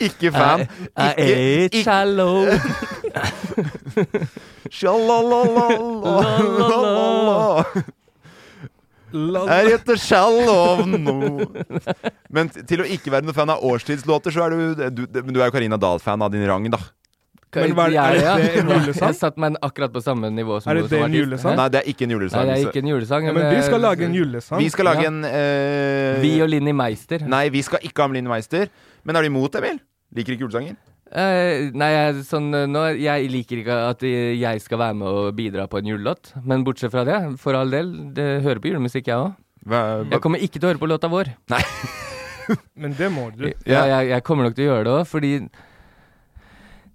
S1: Ikke fan.
S3: I, I
S1: Ikke-
S3: ate shallow.
S1: Sjalalalalala. Jeg heter Shallow nå. Men t- til å ikke være noen fan av årstidslåter, så er du, du Men du er jo Karina Dahl-fan av din rang, da.
S2: Men hva er-
S3: Ja,
S2: er
S3: ja.
S2: dette en julesang?
S3: Jeg satt meg akkurat på samme nivå som
S2: Er det
S3: hun som
S2: det en
S3: artist.
S2: julesang?
S3: Hæ?
S1: Nei, det er ikke en julesang.
S3: Nei, det er
S1: så-
S3: ikke en julesang. eh,
S2: Ja, men vi skal lage en julesang.
S1: Vi skal lage
S2: Ja.
S1: en eh,
S3: Vi og Linni Meister.
S1: Nei, vi skal ikke ha med Linni Meister. Men er du imot, Emil? Liker ikke julesanger?
S3: Eh, nei, jeg- sånn eh, nå Jeg liker ikke at eh, jeg skal være med og bidra på en julelåt. Men bortsett fra det, for all del, det hører på julemusikk, jeg òg.
S1: hva-
S3: Jeg kommer ikke til å høre på låta vår.
S1: Nei.
S2: Men det må du.
S3: Ja, jeg, jeg kommer nok til å gjøre det òg, fordi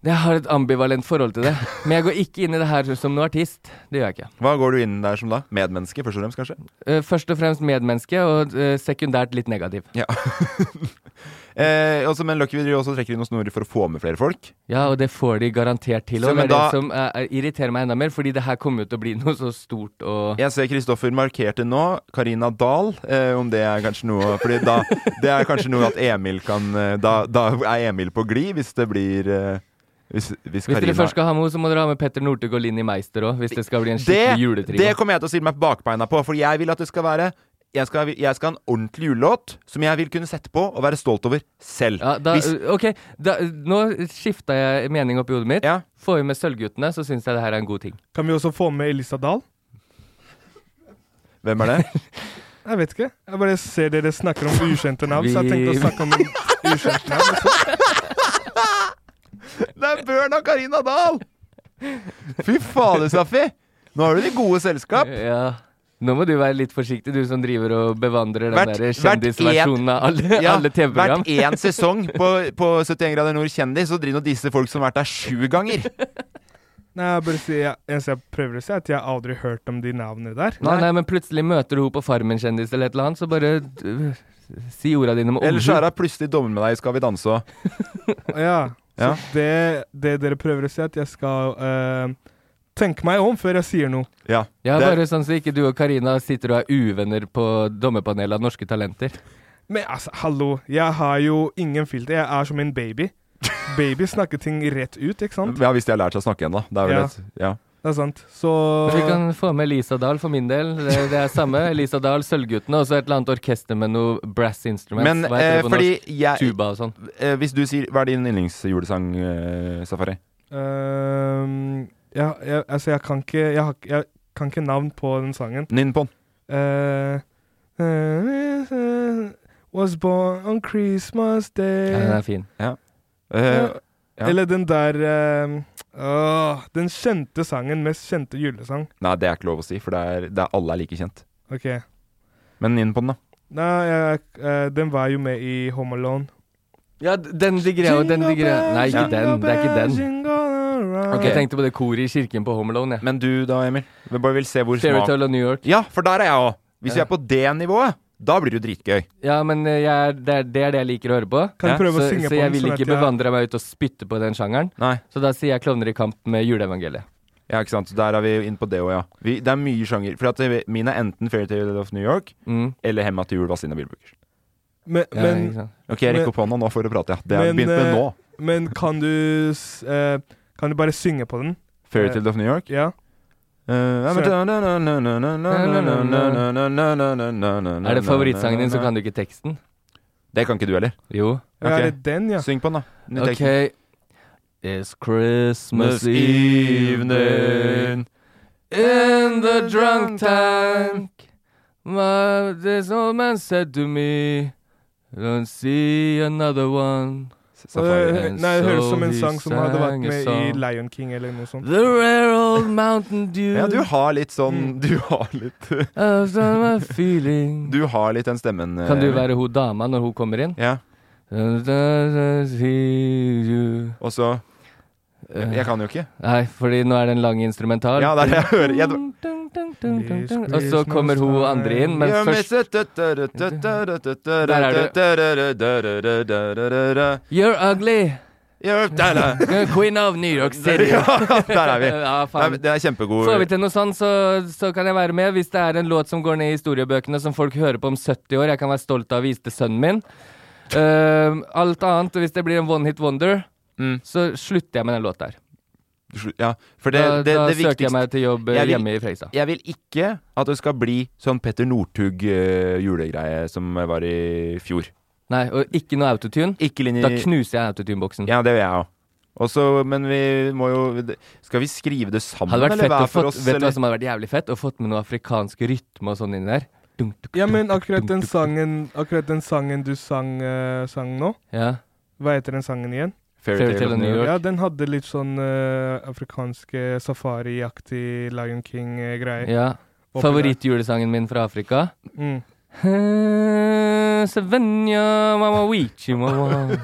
S3: jeg har et ambivalent forhold til det. Men jeg går ikke inn i det her som noen artist. Det gjør jeg ikke.
S1: Hva går du inn der som da? Medmenneske, først og fremst, kanskje?
S3: Eh, først og fremst medmenneske, og eh, sekundært litt negativ.
S1: Ja. Eh, også, men Lucky Video også trekker inn noen snorer for å få med flere folk.
S3: og det får de garantert til.
S1: Så,
S3: Og det
S1: men
S3: er det
S1: da-
S3: som eh, irriterer meg enda mer, fordi det her kommer jo til å bli noe så stort og
S1: Jeg ser Kristoffer markerte nå Karina Dahl, eh, om det er kanskje noe Fordi da det er kanskje noe at Emil kan eh, da, da er Emil på glid, hvis det blir eh, Hvis, hvis,
S3: Hvis dere
S1: Karina
S3: først skal ha med henne, så må dere ha med Petter Northug og Linni Meister òg, hvis det skal bli en skikkelig
S1: det,
S3: juletrio.
S1: det kommer jeg til å stille meg på bakbeina på, for jeg vil at det skal være jeg skal, jeg skal ha en ordentlig julelåt som jeg vil kunne sette på og være stolt over selv.
S3: Ja, da, eh,
S1: Hvis,
S3: ok, da, nå skifta jeg mening oppi hodet mitt. Får vi med Sølvguttene, så syns jeg det her er en god ting.
S2: Kan vi også få med Elisa Dahl?
S1: hvem er det?
S2: Jeg vet ikke. Jeg bare ser dere snakker om ukjente navn, så jeg tenkte å
S3: Vi-
S2: snakke om ukjente navn.
S1: Det er Bjørn og Karina Dahl! Fy fader, Safi! Nå er du i det gode selskap.
S3: Ja. Nå må du være litt forsiktig, du som driver og bevandrer den
S1: Hvert-
S3: der
S1: hvert en-
S3: kjendisversjonen av alle,
S1: ja,
S3: alle TV-program.
S1: Hvert én sesong på, på 71 grader nord kjendis, så driver de og disser folk som har vært der sju ganger.
S2: Nei, jeg bare sier, jeg, eneste jeg prøver å si, er at jeg har aldri hørt om de navnene der.
S3: Nei, nei, men plutselig møter du henne på Farmen-kjendis eller et eller annet, så bare øh, si orda dine med
S1: Eller så
S3: omhu.
S1: er hun plutselig dommer med deg i Skal vi danse òg.
S2: Ja. Så
S1: Ja.
S2: det, det dere prøver å si, er at jeg skal eh, tenke meg om før jeg sier noe.
S1: Ja.
S3: Ja,
S2: Det-
S3: bare sånn så ikke du og Karina sitter og er uvenner på dommerpanelet av Norske Talenter.
S2: Men altså, hallo, jeg har jo ingen filter. Jeg er som en baby. Baby snakker ting rett ut, ikke
S3: sånn.
S2: sant?
S1: Ja, hvis de har lært seg å snakke igjen, da. Det er vel
S2: Ja.
S1: et, ja.
S2: Det er sant. Så
S3: Vi kan få med Elisa Dahl for min del. Det, det er samme. Elisa Dahl, Sølvguttene, og så et eller annet orkester med noe brass instruments.
S1: Men
S3: Hva heter
S1: eh,
S3: det på
S1: fordi
S3: norsk?
S1: jeg
S3: Tuba og sånn.
S1: eh, Hvis du sier Hva er din yndlingsjulesang, eh, Safari?
S2: Ehm, ja, jeg, altså, jeg kan ikke jeg, har, ikke- jeg kan ikke navn på den sangen.
S1: Nynn på den.
S2: Eh, eh, was born on Christmas
S1: Eh,
S2: day
S3: Ja, den er fin.
S1: Ja.
S2: Ja.
S1: Eh, ja.
S2: Eller den der ehm, åh, Den kjente sangen. Mest kjente julesang.
S1: Nei, det er ikke lov å si, for det er, det er alle er like kjent.
S2: OK.
S1: Men nynn på den, da.
S2: Nei, jeg, eh, den var jo med i Home Alone.
S3: Ja, d- den digger jeg, og den digger jeg. Nei, ikke den. Det er ikke den.
S2: den.
S3: Jeg tenkte på det koret i kirken på Home Alone, jeg.
S1: Men du da, Emil? Vi bare vil se hvor smak
S3: Fairytale og New York.
S1: Ja, for der er jeg òg! Hvis vi
S3: Ja.
S1: er på det nivået, da blir det jo dritgøy.
S3: Ja, men eh, jeg er, det, er, det er det jeg liker å høre på.
S2: Kan du
S3: Ja.
S2: prøve å
S3: så,
S2: synge på
S3: så jeg
S2: den,
S3: vil
S2: sånn at
S3: ikke
S2: jeg-
S3: bevandre meg ut og spytte på den sjangeren.
S1: Nei.
S3: Så da sier jeg 'Klovner i kamp' med juleevangeliet.
S1: Ja, ikke sant. Der er vi inn på det òg, ja. Vi, det er mye sjanger. For at eh, min er enten Fairytale of New York
S3: Mm.
S1: eller Hemma til jul Vazelina Bilbuker.
S2: Men,
S3: Ja,
S2: men,
S3: ikke sant?
S1: Ok, jeg
S2: Men-
S1: rekker opp hånda nå for å prate, ja. Det har vi
S2: men,
S1: begynt med
S2: eh,
S1: nå.
S2: men kan du s- eh, Kan du bare synge på den?
S1: Fairytale of New York.
S2: Ja. eh,
S3: er
S1: Er
S3: det favorittsangen din, så kan du ikke teksten?
S1: Det kan ikke du heller.
S3: Jo.
S2: Ja,
S1: Ok.
S2: Er det den, ja?
S1: Syng på den, da. Ny tekst.
S3: OK. It's Christmas evening in the drunk tank. My, this old man said to me, don't see another one.
S1: Safari.
S2: Eh, Nei, det høres som en sang som hadde vært med i Lion King eller noe sånt.
S3: The rare old mountain dew
S1: Ja, du har litt
S2: Mm.
S1: sånn Du har litt
S3: of summer feeling.
S1: Du har litt den stemmen. eh,
S3: Kan du være hun dama når hun kommer inn?
S1: Ja.
S3: Nei,
S1: Og så
S3: Eh,
S1: Jeg jeg kan jo ikke.
S3: fordi nå er det en lang instrumental.
S1: Ja, det er det jeg hører. Jeg,
S3: Og så kommer hun andre inn, men først You're ugly, you're queen of New York City.
S1: Ja, der er vi.
S3: Ja,
S1: Nei, men
S3: faen.
S1: Det er kjempegod
S3: Får vi til noe sånn, så, så kan jeg være med. Hvis det er en låt som går ned i historiebøkene som folk hører på om 70 år, jeg kan være stolt av å vise til sønnen min. Ehm, alt annet, hvis det blir en one hit wonder,
S1: Mm.
S3: så slutter jeg med den låta her.
S1: Ja, for det,
S3: Da,
S1: det,
S3: da
S1: det
S3: søker jeg
S1: viktigste
S3: meg til jobb eh,
S1: Jeg vil-
S3: hjemme i Fredrikstad.
S1: Jeg vil ikke at det skal bli sånn Petter Northug eh, julegreie som var i fjor.
S3: Nei, og ikke noe autotune.
S1: Ikke linje
S3: Da knuser jeg autotune-boksen.
S1: Ja, det vil jeg òg. Og så- Men vi må jo Skal vi skrive det sammen,
S3: Hadde vært
S1: eller
S3: fett
S1: hva
S3: å
S1: er for
S3: fått,
S1: oss?
S3: Vet du hva
S1: eller?
S3: som hadde vært jævlig fett? Å fått med noe afrikansk rytme og sånn inni der. Dunk, dunk,
S2: Ja, men
S3: dunk, dunk,
S2: akkurat den
S3: dunk,
S2: sangen Akkurat den sangen du sang, eh, sang nå,
S3: dunk. Ja.
S2: hva heter den sangen igjen?
S3: Fairytale of New York.
S2: Ja, den hadde litt sånn eh, afrikanske safariaktig Lion eh, King-greie.
S3: ja. Favorittjulesangen min fra Afrika?
S2: Mm.
S3: Sevenya mama wichi mama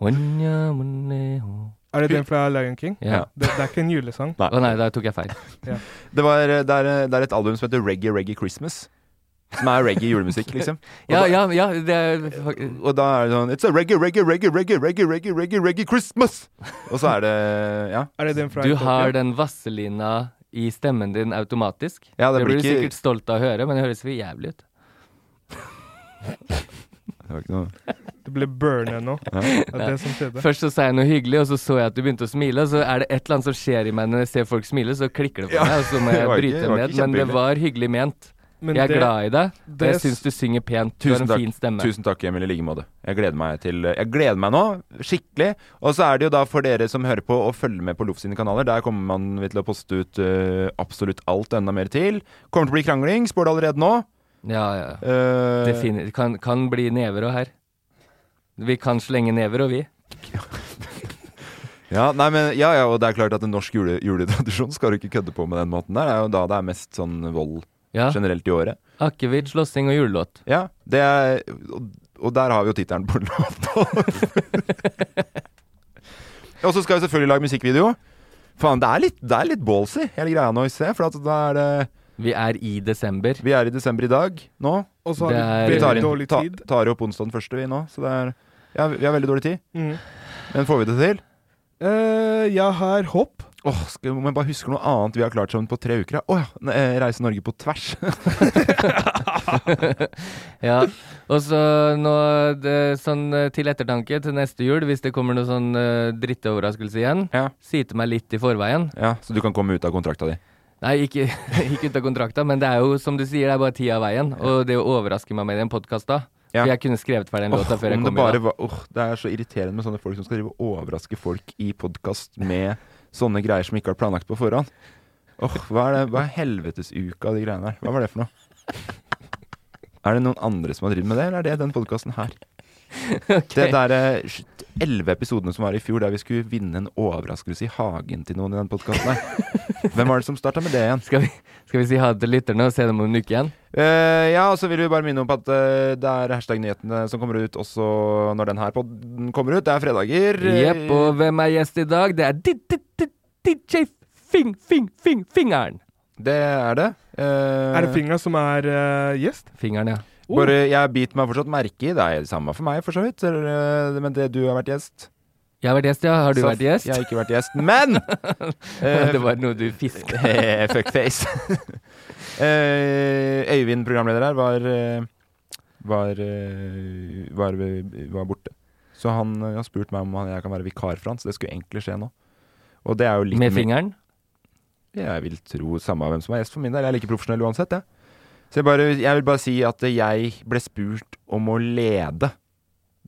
S3: Wanya muneo.
S2: Er det den fra Lion King?
S3: Ja.
S2: Det, det er ikke en julesang.
S3: Å nei, da tok jeg feil.
S1: Det, var, det, er, det er et album som heter Reggae Reggae Christmas. Som er reggae julemusikk, liksom. Og
S3: Ja,
S1: da-
S3: ja, ja, det er fak-
S1: Og da er det sånn It's a reggae, reggae, reggae, reggae, reggae, reggae, reggae, reggae Christmas! Og så er det Ja.
S2: Er det den fra
S3: Du
S2: Ethiopia?
S3: har den vaselina i stemmen din automatisk.
S1: Ja, det
S3: det
S1: blir
S3: blir du
S1: ikke-
S3: sikkert stolt av å høre, men det høres for jævlig ut.
S1: Det var ikke noe
S2: Det ble burna nå.
S1: ja.
S2: Det er det som skjedde.
S3: Først så sa jeg noe hyggelig, og så så jeg at du begynte å smile, og så er det et eller annet som skjer i meg når jeg ser folk smile, så klikker det for
S1: Ja,
S3: meg, og så må
S1: det
S3: jeg
S1: var ikke-
S3: bryte
S1: det
S3: ned.
S1: var ikke
S3: Men det
S1: kjempehyggelig.
S3: var hyggelig ment.
S2: men
S3: jeg er
S2: det-
S3: glad i deg, og
S2: det
S3: jeg syns du synger pent. Du har
S1: Tusen
S3: en
S1: takk,
S3: fin stemme.
S1: tusen takk, Emil, i like måte. Jeg gleder meg til Jeg gleder meg nå, skikkelig. Og så er det jo da for dere som hører på, å følge med på Loff sine kanaler. Der kommer man til å poste ut eh, absolutt alt og enda mer til. Kommer til å bli krangling, spår det allerede nå.
S3: Ja, ja.
S1: Eh,
S3: Det fin- kan, kan bli never og her. Vi kan slenge never og vi.
S1: Ja, nei, men, ja, ja, og det er klart at en norsk jule, juletradisjon skal du ikke kødde på med den måten der. Det er jo da det er mest sånn vold
S3: Ja.
S1: generelt i året.
S3: Akevidd, slåssing og julelåt.
S1: Ja, det er, og, og der har vi jo tittelen på låta. og så skal vi selvfølgelig lage musikkvideo. Faen, det er litt, det er litt ballsy, hele greia nå, ser jeg, for at da er det
S3: Vi er i desember.
S1: Vi er i desember i dag, nå.
S2: Og så har vi
S1: vi
S2: veldig
S1: tar,
S2: dårlig
S1: inn, ta,
S2: tid.
S1: tar opp onsdag den første, vi nå. Så det er ja, Vi vi har veldig dårlig tid.
S2: Mhm.
S1: Men får vi det til?
S2: Eh, jeg har håp.
S1: Åh, skal må jeg bare huske noe annet vi har klart sammen på tre uker? da? Å ja! ne- eh, Reise Norge på tvers.
S3: ja. Og så nå det, sånn eh, til ettertanke til neste jul, hvis det kommer noe sånn eh, drittoverraskelse igjen, si til meg litt i forveien.
S1: ja, Så du kan komme ut av kontrakta di.
S3: Nei, ikke, ikke ut av kontrakta, men det er jo som du sier, det er bare tida av veien. Og det å overraske meg med den podkasta For jeg kunne skrevet ferdig den
S1: Åh,
S3: låta før jeg
S1: om det
S3: kom
S1: bare
S3: i dag.
S1: var- åh, det er så irriterende med sånne folk som skal drive og overraske folk i podkast med sånne greier som ikke har vært planlagt på forhånd. Åh, hva er det? Hva er helvetesuka av de greiene der? Hva var det for noe? Er det noen andre som har drevet med det, eller er det den podkasten her? Det der eh, elleve episodene som var i fjor der vi skulle vinne en overraskelse i hagen til noen i den podkasten her. Hvem var det som starta med det igjen?
S3: Skal vi, skal vi si ha det til lytterne og se dem om en uke igjen?
S1: Eh, ja, og så vil vi bare minne om at eh, det er hashtag-nyhetene som kommer ut også når den her podden kommer ut. Det er fredager. Eh,
S3: Jepp, og hvem er gjest i dag? Det er di- di- di- DJ Fing, Fing, Fing, Fingeren.
S1: Det er det. Eh,
S2: Er det Oh. fingeren som er eh, gjest?
S3: Fingeren, ja.
S1: Bare, jeg biter meg fortsatt merke i. Det er det samme for meg, for så vidt. Eller, eh, Men det, du har vært gjest.
S3: Jeg har vært gjest, ja. Har du
S1: Så
S3: vært gjest?
S1: Jeg har ikke vært gjest, men eh,
S3: det var noe du fiska.
S1: Eh, Fuckface. Eh, Øyvind, programleder her, var eh, var, eh, var, var borte. Så han eh, har spurt meg om han- jeg kan være vikar for han, så det skulle egentlig skje nå. Og det er jo litt
S3: Med
S1: mi-
S3: fingeren?
S1: Jeg vil tro samme hvem som er gjest for min del. Jeg er like profesjonell uansett, jeg. Så jeg, bare, jeg vil bare si at jeg ble spurt om å lede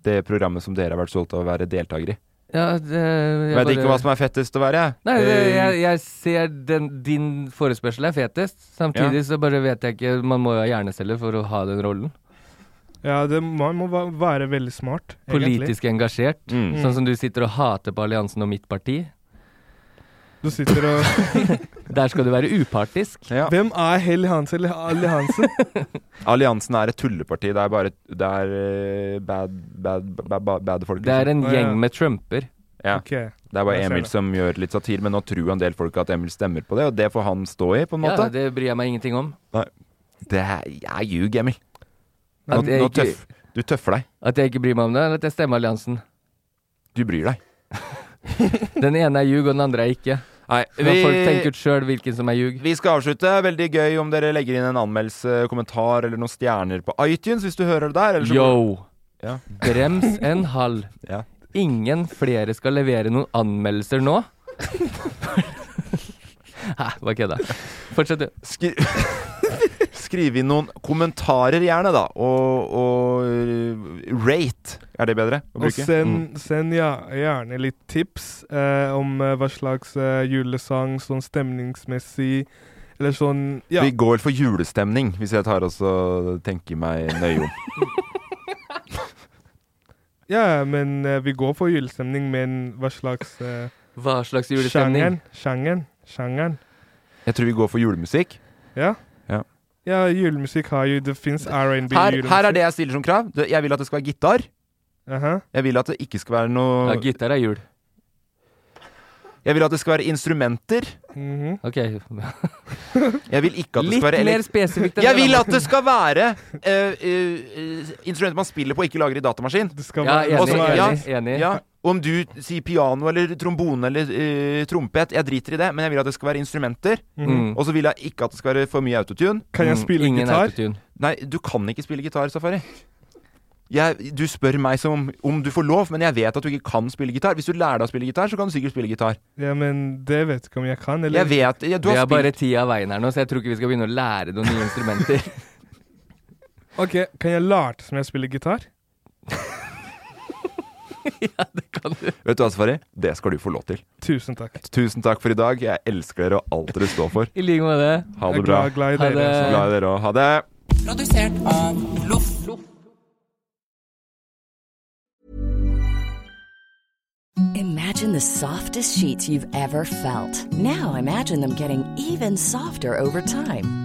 S1: det programmet som dere har vært stolt av å være deltaker i.
S3: Ja, det, jeg
S1: Jeg vet ikke
S3: bare-
S1: hva som er fettest å være, jeg.
S3: Nei, det,
S1: Eh,
S3: jeg, jeg ser den, din forespørsel er fetest. Samtidig så bare vet jeg ikke Man må jo ha hjerneceller for å ha den rollen.
S2: Ja, det, man må va- være veldig smart. egentlig.
S3: Politisk engasjert.
S2: Mm.
S3: Sånn som du sitter og hater på alliansen og mitt parti.
S2: Du sitter og
S3: Der skal du være upartisk.
S1: Eh,
S2: Hvem er Helly Hansen eller Ali Hansen?
S1: Alliansen er et tulleparti. Det er bare Det er eh, bad, bad, bad, bad, bad folk.
S3: Det er en
S1: liksom.
S3: gjeng med trumper.
S1: Ja.
S2: Ok,
S1: Det er bare
S3: jeg ser
S1: Emil
S3: det.
S1: som gjør litt satir, men nå tror jo en del folk at Emil stemmer på det, og det får han stå i, på en
S3: Ja,
S1: måte.
S3: det bryr jeg meg ingenting om.
S1: Nei. Det er Jeg ljuger, Emil. Nå,
S3: At jeg
S1: nå
S3: ikke-
S1: tøff, du tøffer deg.
S3: At jeg ikke bryr meg om det, eller at jeg stemmer alliansen.
S1: Du bryr deg.
S3: Den ene er ljug, og den andre er ikke.
S1: Nei,
S3: Kan folk
S1: vi-
S3: tenke ut sjøl hvilken som er ljug?
S1: Vi skal avslutte. Veldig gøy om dere legger inn en anmeldelse, kommentar eller noen stjerner på iTunes hvis du hører det der. eller så-
S3: Yo!
S1: Ja.
S3: Brems en halv.
S1: Ja.
S3: Ingen flere skal levere noen anmeldelser nå. Hæ, bare kødda. Fortsett, du.
S1: Skri Skriv inn noen kommentarer gjerne, da. Og, og uh, rate. Er det bedre å
S2: Og
S1: bruke? Mm.
S2: send, send ja, gjerne litt tips eh, om eh, hva slags eh, julesang, sånn stemningsmessig, eller sånn ja.
S1: Vi går for julestemning, hvis jeg tar også tenker meg nøye om.
S2: Ja, men eh, vi går for julestemning, men hva slags eh,
S3: Hva slags julestemning?
S2: Sjangeren. Sjangeren. sjangeren.
S1: Jeg tror vi går for julemusikk.
S2: Ja.
S1: Ja.
S2: ja, julemusikk har jo Det fins R&B
S1: Her,
S2: julemusikk.
S1: her er det jeg stiller som krav. Det- Jeg vil at det skal være gitar.
S2: Aha.
S1: Jeg vil at det ikke skal være noe
S3: Ja, gitar er jul.
S1: Jeg vil at det skal være instrumenter.
S2: Mhm.
S3: Ok.
S1: Jeg vil ikke at det
S3: Litt
S1: skal være
S3: mer
S1: elekt-
S3: spesifikt enn
S1: Jeg
S3: det,
S1: vil
S3: da,
S1: at det skal være eh, eh, instrumenter man spiller på, ikke lager i datamaskin.
S2: Det skal
S3: Ja, enig,
S1: Og så- ja,
S3: enig, enig.
S1: Ja, om du sier piano eller trombone eller eh, trompet, jeg driter i det, men jeg vil at det skal være instrumenter.
S3: Mhm.
S2: Mm.
S1: Og så vil jeg ikke at det skal være for mye autotune.
S2: Kan jeg
S3: Mm,
S2: spille
S3: Ingen
S2: gitar?
S3: autotune.
S1: Nei, du kan ikke spille gitar, Safari. jeg, Du spør meg som om, om du får lov, men jeg vet at du ikke kan spille gitar. Hvis du lærer deg å spille gitar, så kan du sikkert spille gitar.
S2: Ja, men det vet ikke om jeg kan, eller
S1: Jeg vet- ja, du har
S3: vi har
S1: spilt-
S3: bare tida av veien her nå, så jeg tror ikke vi skal begynne å lære noen nye instrumenter.
S2: OK, kan jeg late som jeg spiller gitar?
S1: Vet du hva, Safari? Det skal du få lov til.
S2: Tusen takk.
S1: Tusen takk for i dag. Jeg elsker dere og alt dere står for.
S3: I like måte.
S1: Ha
S2: Jeg
S1: det
S2: er
S1: bra.
S2: glad- glad i Ha dere, det. altså.
S1: Glad i dere også. Ha det.
S7: Produsert av Loff.
S8: Imagine the softest sheets you've ever felt. Now imagine them getting even softer over time.